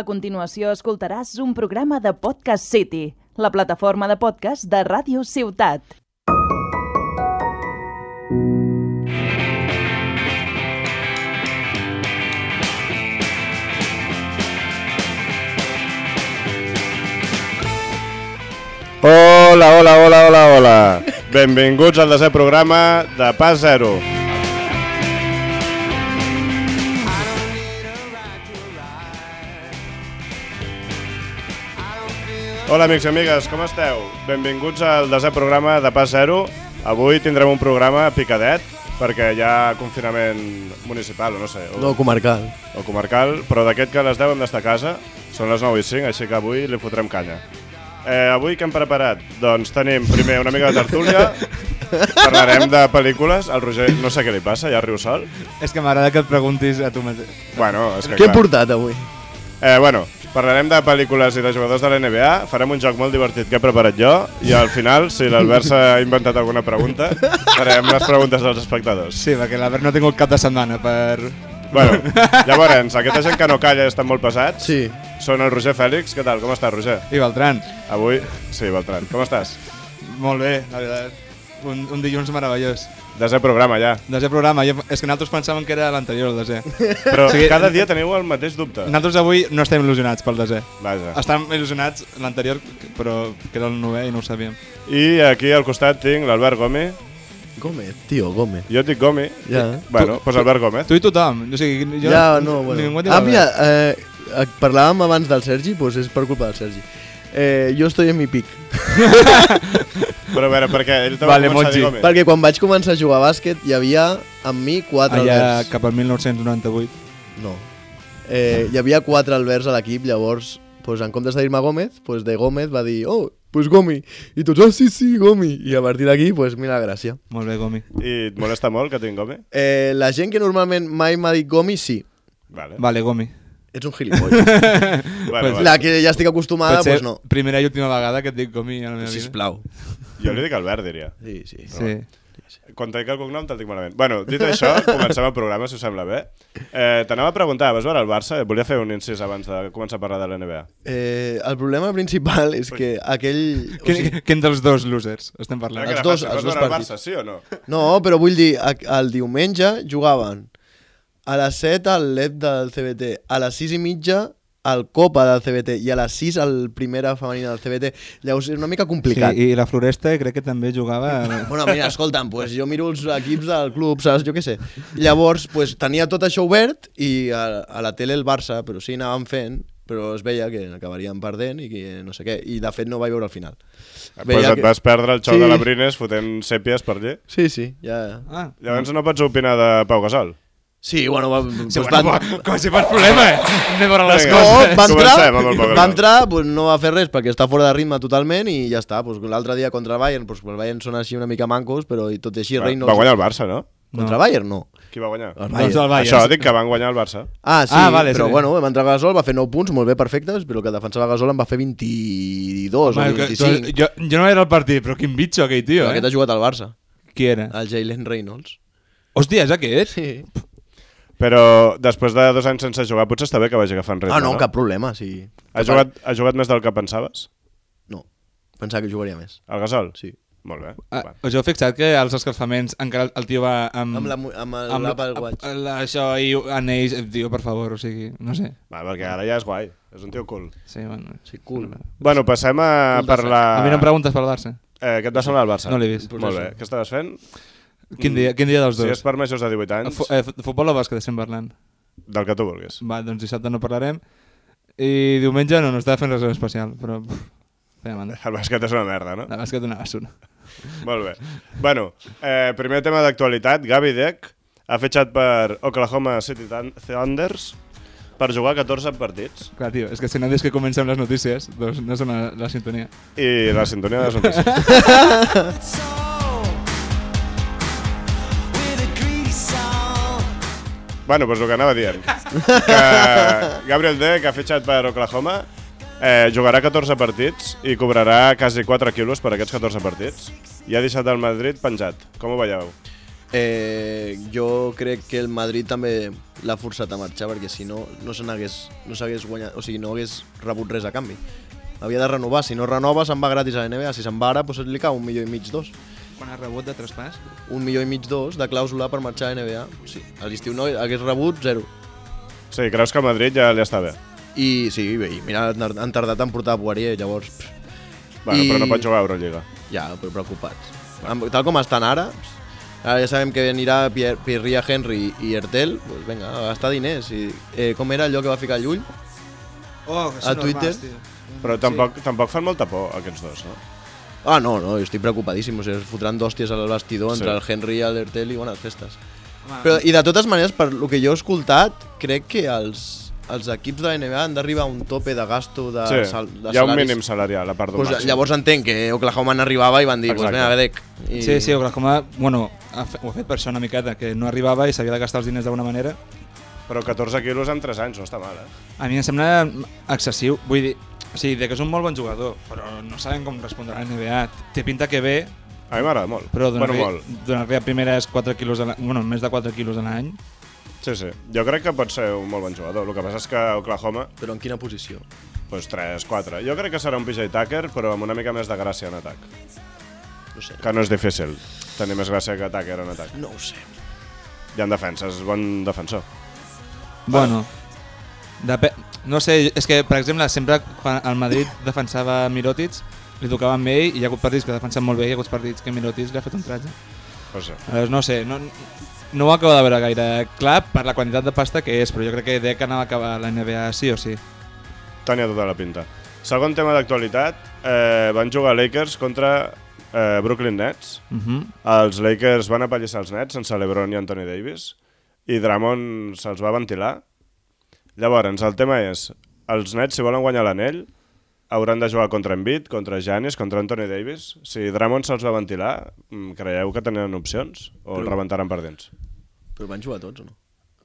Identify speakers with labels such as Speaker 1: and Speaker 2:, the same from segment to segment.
Speaker 1: A continuació escoltaràs un programa de Podcast City, la plataforma de podcast de Ràdio Ciutat.
Speaker 2: Hola, hola, hola, hola, hola. Benvinguts al desè programa de Pas Zero. Hola, amics i amigues, com esteu? Benvinguts al desè programa de Pas Zero. Avui tindrem un programa picadet, perquè hi ha confinament municipal, o no sé, o,
Speaker 3: No, comarcal.
Speaker 2: o comarcal, però d'aquest que a les 10 hem d'estar a casa, són les 9 i 5, així que avui li fotrem canya. Eh, avui què hem preparat? Doncs tenim primer una mica de tertúlia, parlarem de pel·lícules, el Roger no sé què li passa, ja riu sol.
Speaker 4: És que m'agrada que et preguntis a tu mateix.
Speaker 2: Bueno, és que
Speaker 3: Què he
Speaker 2: clar.
Speaker 3: portat avui?
Speaker 2: Eh, bueno, parlarem de pel·lícules i de jugadors de la NBA, farem un joc molt divertit que he preparat jo, i al final, si l'Albert s'ha inventat alguna pregunta, farem les preguntes dels espectadors.
Speaker 4: Sí, perquè l'Albert no ha tingut cap de setmana per...
Speaker 2: Bueno, llavors, aquesta gent que no calla i estan molt pesats,
Speaker 3: Sí.
Speaker 2: són el Roger Fèlix. Què tal? Com estàs, Roger?
Speaker 4: I Beltran.
Speaker 2: Avui, sí, Beltran, com estàs?
Speaker 4: Molt bé, la veritat. Un, un dilluns meravellós.
Speaker 2: Desè programa, ja.
Speaker 4: Desè programa. Jo, és que nosaltres pensàvem que era l'anterior, el desè.
Speaker 2: Però
Speaker 4: Sí.
Speaker 2: cada dia teniu el mateix dubte.
Speaker 4: Nosaltres avui no estem il·lusionats pel desè.
Speaker 2: Vaja.
Speaker 4: Estàvem il·lusionats l'anterior, però que era el novè i no ho sabíem.
Speaker 2: I aquí al costat tinc l'Albert Gómez.
Speaker 3: Gómez, tio, Gómez.
Speaker 2: Jo et dic Gómez.
Speaker 3: Ja.
Speaker 2: Bueno, doncs pues Albert Gómez.
Speaker 4: Tu i tothom. O sigui, jo,
Speaker 3: ja, no, bueno.
Speaker 4: Ningú
Speaker 3: Ah, mira, eh, eh, parlàvem abans del Sergi, doncs és per culpa del Sergi. Eh, jo estoy en mi pic.
Speaker 2: Però a veure, per què? Ell te va començar a
Speaker 4: Vale,
Speaker 2: dir
Speaker 4: Monchi.
Speaker 2: Gómez.
Speaker 3: Perquè quan vaig començar a jugar a bàsquet hi havia amb mi quatre
Speaker 4: Allà
Speaker 3: Alberts.
Speaker 4: cap al 1998.
Speaker 3: No. Eh, hi havia quatre Alberts a l'equip, llavors doncs, en comptes de dir-me Gómez, doncs de Gómez va dir oh, pues Gomi. I tots, ah, sí, sí, Gomi. I a partir d'aquí, doncs mira la gràcia.
Speaker 4: Molt bé, Gomi.
Speaker 2: I et molesta molt que tinc Gómez?
Speaker 3: Eh, la gent que normalment mai m'ha dit Gomi, sí.
Speaker 2: Vale.
Speaker 4: Vale, Gomi.
Speaker 3: Ets un gilipolles.
Speaker 2: Bueno, vale.
Speaker 3: la que ja estic acostumada,
Speaker 4: Pot ser
Speaker 3: doncs no.
Speaker 4: primera i última vegada que et dic Gomi a la meva vida.
Speaker 3: Sisplau.
Speaker 2: Jo li dic Albert, diria.
Speaker 3: Sí, sí.
Speaker 4: Sí.
Speaker 2: Quan te dic el cognom te'l dic malament. Bueno, dit això, comencem el programa, si us sembla bé. Eh, T'anava a preguntar, vas veure el Barça? Volia fer un incís abans de començar a parlar de la NBA.
Speaker 3: Eh, el problema principal és que aquell... O sigui,
Speaker 4: Quin, quin dels dos losers estem
Speaker 2: Clar
Speaker 4: parlant?
Speaker 2: Eh, que
Speaker 3: Els
Speaker 2: era
Speaker 3: dos-
Speaker 2: fàcil.
Speaker 3: els
Speaker 2: Vas
Speaker 3: dos
Speaker 2: veure el
Speaker 3: partits.
Speaker 2: Barça, sí o no?
Speaker 3: no, però vull dir, a- el diumenge jugaven a les 7 al LEP del CBT, a les 6 i mitja al Copa del CBT i a les 6 al Primera Femenina del CBT. Llavors és una mica complicat.
Speaker 4: Sí, i la Floresta crec que també jugava...
Speaker 3: Bueno, mira, escolta'm, pues, jo miro els equips del club, saps? Jo què sé. Llavors, pues, tenia tot això obert i a, a la tele el Barça, però sí, anàvem fent, però es veia que acabarien perdent i que no sé què. I, de fet, no vaig veure el final.
Speaker 2: Pues et
Speaker 3: que-
Speaker 2: vas perdre el xou
Speaker 3: Sí.
Speaker 2: de la Brines fotent sèpies per allà.
Speaker 3: Sí, sí, ja...
Speaker 4: Ah,
Speaker 2: Llavors no pots opinar de Pau Gasol.
Speaker 3: Sí, bueno, va, sí,
Speaker 4: sí,
Speaker 3: pues,
Speaker 4: bueno,
Speaker 3: van,
Speaker 4: va, com si fos problema, eh? Anem a veure les
Speaker 2: Vinga.
Speaker 3: No,
Speaker 4: coses.
Speaker 3: va
Speaker 2: Comencem amb el
Speaker 3: entrar,
Speaker 2: Pau
Speaker 3: va
Speaker 2: Gasol.
Speaker 3: entrar pues, no va fer res perquè està fora de ritme totalment i ja està. Pues, L'altre dia contra el Bayern, pues, el Bayern són així una mica mancos, però i tot i així
Speaker 2: Va,
Speaker 3: Reynolds...
Speaker 2: va guanyar el Barça, no?
Speaker 3: Contra
Speaker 4: No.
Speaker 3: Bayern, no.
Speaker 2: Qui va guanyar?
Speaker 3: El
Speaker 4: Doncs el Bayern.
Speaker 2: Això, dic que van guanyar el Barça.
Speaker 3: Ah, sí, ah,
Speaker 4: Ah, vale,
Speaker 3: vale, però
Speaker 4: sí.
Speaker 3: bueno, vam entrar a Gasol, va fer 9 punts, molt bé, perfectes, però el que defensava Gasol en va fer 22
Speaker 4: Home,
Speaker 3: o
Speaker 4: que- doncs
Speaker 3: 25.
Speaker 4: jo, jo no era el partit, però quin bitxo aquell tio,
Speaker 3: Aquest
Speaker 4: eh?
Speaker 3: ha jugat al Barça,
Speaker 4: Qui era?
Speaker 3: el Jalen Reynolds.
Speaker 4: Hòstia, és aquest?
Speaker 3: Sí.
Speaker 2: Però després de dos anys sense jugar, potser està bé que vagi agafant ritme,
Speaker 3: Ah, no, cap problema, sí.
Speaker 2: Ha jugat, ha jugat més del que pensaves?
Speaker 3: No, pensava que jugaria més,
Speaker 2: El Gasol?
Speaker 3: sí.
Speaker 2: Molt bé.
Speaker 4: Ah,
Speaker 2: Va.
Speaker 4: us heu fixat que als escalfaments encara el- el tio va amb...
Speaker 3: Amb, la, mu- amb, el, amb
Speaker 4: amb
Speaker 3: l'Apple Watch.
Speaker 4: amb la- això i anells, eh, tio, per favor, o sigui, no sé.
Speaker 2: Va, perquè ara ja és guai. És un tio cool.
Speaker 4: Sí, bueno.
Speaker 3: Sí, cool.
Speaker 2: Bueno, passem a
Speaker 4: A
Speaker 2: parlar...
Speaker 4: mi no em preguntes per Barça.
Speaker 2: eh, què et va semblar el Barça?
Speaker 4: No l'he vist.
Speaker 2: Molt bé. Què estaves fent?
Speaker 3: Mm.
Speaker 4: Quin dia, quin dia dels
Speaker 2: Si és
Speaker 4: dos?
Speaker 2: per majors de 18 anys,
Speaker 4: Fu eh, fu- futbol o bàsquet estem parlant?
Speaker 2: del que tu vulguis.
Speaker 4: Va, doncs dissabte no parlarem. I diumenge no, no estava fent res especial, però... pff, Feia mandra.
Speaker 2: El bàsquet és una merda, no?
Speaker 4: La bàsquet una basura.
Speaker 2: Molt bé. Bueno, eh, primer tema d'actualitat. Gavi Deck ha fitxat per Oklahoma City Thun- Thunders per jugar 14 partits.
Speaker 4: Clar, tio, és que si no dius que comencem les notícies, doncs no sona la, la sintonia.
Speaker 2: I la sintonia de Sonrisa. bueno, doncs el que anava dient. Que Gabriel Deck ha fitxat per Oklahoma, eh, jugarà 14 partits i cobrarà quasi 4 quilos per aquests 14 partits. I ha deixat el Madrid penjat. Com ho veieu?
Speaker 3: Eh, jo crec que el Madrid també l'ha forçat a marxar perquè si no, no se n'hagués no s'hagués guanyat, o sigui, no hagués rebut res a canvi. Havia de renovar, si no renova se'n va gratis a la NBA, si se'n va ara doncs li cau un milió i mig, dos.
Speaker 4: Quan has rebut de traspàs?
Speaker 3: Un milió i mig, dos de clàusula per marxar a la NBA. Sí, a l'estiu no hagués rebut zero.
Speaker 2: Sí, creus que a Madrid ja li està bé.
Speaker 3: I sí, bé, i mira, han han tardat en portar a Poirier, llavors... pff,
Speaker 2: Bueno,
Speaker 3: I-
Speaker 2: però no pot jugar a Euroliga.
Speaker 3: Ja, però preocupats. Amb, tal com estan ara, ara ja sabem que anirà Pierre, Pirria, Henry i Ertel, pues vinga, a gastar diners. I, eh, com era allò que va ficar Llull?
Speaker 4: Oh, que
Speaker 3: A Twitter?
Speaker 2: Però tampoc, tampoc fan molta por aquests dos, no?
Speaker 3: Ah, no, no, jo estic preocupadíssim. O sigui, es fotran d'hòsties al vestidor
Speaker 2: Sí.
Speaker 3: entre el Henry i el Ertel i bones festes.
Speaker 4: Home,
Speaker 3: Però, I de totes maneres, per lo que jo he escoltat, crec que els, els equips de la NBA han d'arribar a un tope de gasto de,
Speaker 2: sí,
Speaker 3: sal, de
Speaker 2: hi ha un
Speaker 3: salaris.
Speaker 2: mínim salarial, a part d'un
Speaker 3: Pues,
Speaker 2: màxim.
Speaker 3: llavors entenc que Oklahoma n'arribava i van dir, pues
Speaker 2: Exacte.
Speaker 3: vinga, Bedec. I...
Speaker 4: Sí, sí, Oklahoma, bueno, ha fe- ho ha fet per això una miqueta, que no arribava i s'havia de gastar els diners d'alguna manera.
Speaker 2: Però 14 quilos en 3 anys, no està mal, eh?
Speaker 4: A mi em sembla excessiu, vull dir, o sigui, de que és un molt bon jugador, però no sabem com respondrà la NBA. Té pinta que bé,
Speaker 2: A mi m'agrada molt.
Speaker 4: però donar-li
Speaker 2: bueno,
Speaker 4: bueno,
Speaker 2: molt.
Speaker 4: donar a primeres 4 quilos, a l'any- bueno, més de 4 quilos a l'any.
Speaker 2: Sí, sí. Jo crec que pot ser un molt bon jugador. El que passa és que a Oklahoma,
Speaker 3: Però en quina posició?
Speaker 2: doncs 3, 4. Jo crec que serà un PJ Tucker, però amb una mica més de gràcia en atac.
Speaker 3: No sé.
Speaker 2: Que no és difícil tenir més gràcia que Tucker en atac.
Speaker 3: No ho sé.
Speaker 2: I en defensa, és bon defensor.
Speaker 4: Bueno, depe- no sé, és que, per exemple, sempre quan el Madrid defensava Mirotic, li tocava amb ell i hi ha hagut partits que ha defensat molt bé i hi ha hagut partits que Mirotic li ha fet un tratge.
Speaker 2: No sé.
Speaker 4: Aleshores, no sé, no, no ho acabo de veure gaire clar per la quantitat de pasta que és, però jo crec que Deca anava a acabar la NBA sí o sí.
Speaker 2: Tenia tota la pinta. Segon tema d'actualitat, eh, van jugar Lakers contra eh, Brooklyn Nets.
Speaker 4: Uh -huh.
Speaker 2: Els Lakers van apallissar els Nets sense LeBron i Anthony Davis i Drummond se'ls va ventilar. Llavors, el tema és, els Nets, si volen guanyar l'anell, hauran de jugar contra Embiid, contra Giannis, contra Anthony Davis. Si Drummond se'ls va ventilar, mm, creieu que tenen opcions o el
Speaker 3: Però-
Speaker 2: rebentaran per dins?
Speaker 3: Però van jugar tots o no?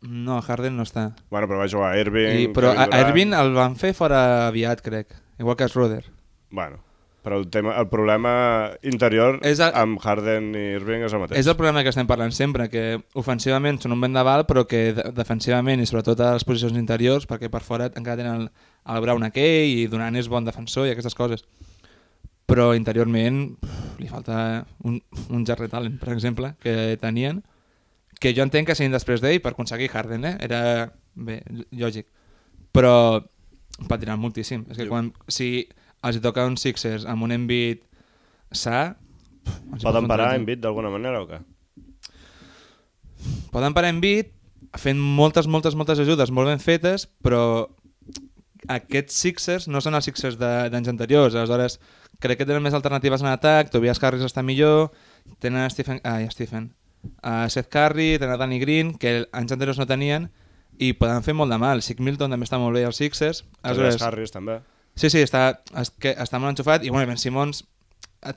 Speaker 4: No, Harden no està.
Speaker 2: Bueno, però va jugar
Speaker 4: I,
Speaker 2: Irving...
Speaker 4: però a,
Speaker 2: Kevin
Speaker 4: a
Speaker 2: Durant.
Speaker 4: Irving el van fer fora aviat, crec. Igual que a Schroeder.
Speaker 2: Bueno, però el, tema, el problema interior
Speaker 4: És
Speaker 2: és
Speaker 4: el-
Speaker 2: el... amb Harden i Irving és el mateix.
Speaker 4: És el problema que estem parlant sempre, que ofensivament són un vent de val, però que de- defensivament i sobretot a les posicions interiors, perquè per fora encara tenen el, el Brown aquell i Donant és bon defensor i aquestes coses. Però interiorment pff, li falta un, un Jarret Allen, per exemple, que tenien, que jo entenc que siguin després d'ell per aconseguir Harden, eh? Era, bé, lògic. Però patiran moltíssim. És que quan, si els hi toca un Sixers amb un Embiid sa... pff, els hi pot
Speaker 2: Poden
Speaker 4: un
Speaker 2: parar
Speaker 4: tretze.
Speaker 2: en bit d'alguna manera o què?
Speaker 4: poden parar en bit fent moltes, moltes, moltes ajudes molt ben fetes, però aquests Sixers no són els Sixers de- d'anys anteriors, aleshores crec que tenen més alternatives en atac, Tobias Harris està millor, tenen Stephen, ai, Stephen, a Seth Curry, tenen Danny Green, que anys anteriors no tenien, i poden fer molt de mal. Sick Milton també està molt bé als Sixers.
Speaker 2: Tobias Harris també.
Speaker 4: Sí, sí, està, es, que, està molt enxufat i bueno, Ben Simons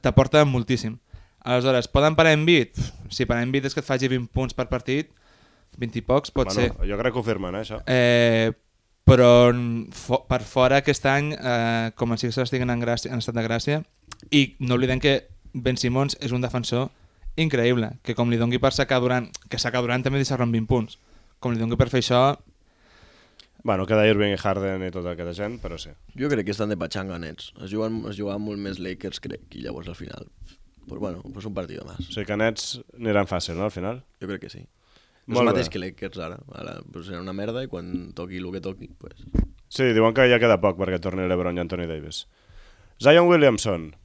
Speaker 4: t'aporta moltíssim. Aleshores, poden parar en bit? Si parar en bit és que et faci 20 punts per partit, 20 i pocs pot
Speaker 2: bueno,
Speaker 4: ser.
Speaker 2: Jo crec que ho firmen, eh, això.
Speaker 4: Eh, però mm, fo per fora aquest any, eh, com els Sixers estiguen en, gràcia, en estat de gràcia, i no oblidem que Ben Simons és un defensor increïble, que com li dongui per sacar durant, que sacar durant també deixar en 20 punts, com li dongui per fer això,
Speaker 2: Bueno, queda Irving i Harden i tota aquesta gent, però sí.
Speaker 3: Jo crec que estan de patxanga, nets. Es juguen, es juguen molt més Lakers, crec, i llavors al final... Pues bueno, pues un partit
Speaker 2: O
Speaker 3: més.
Speaker 2: sigui que Nets aniran fàcil, no, al final?
Speaker 3: Jo crec que sí. és
Speaker 2: Molt
Speaker 3: el mateix
Speaker 2: bé.
Speaker 3: que Lakers ara. ara pues serà una merda i quan toqui el que toqui, pues...
Speaker 2: Sí, diuen que ja queda poc perquè torni LeBron i Anthony Davis. Zion Williamson,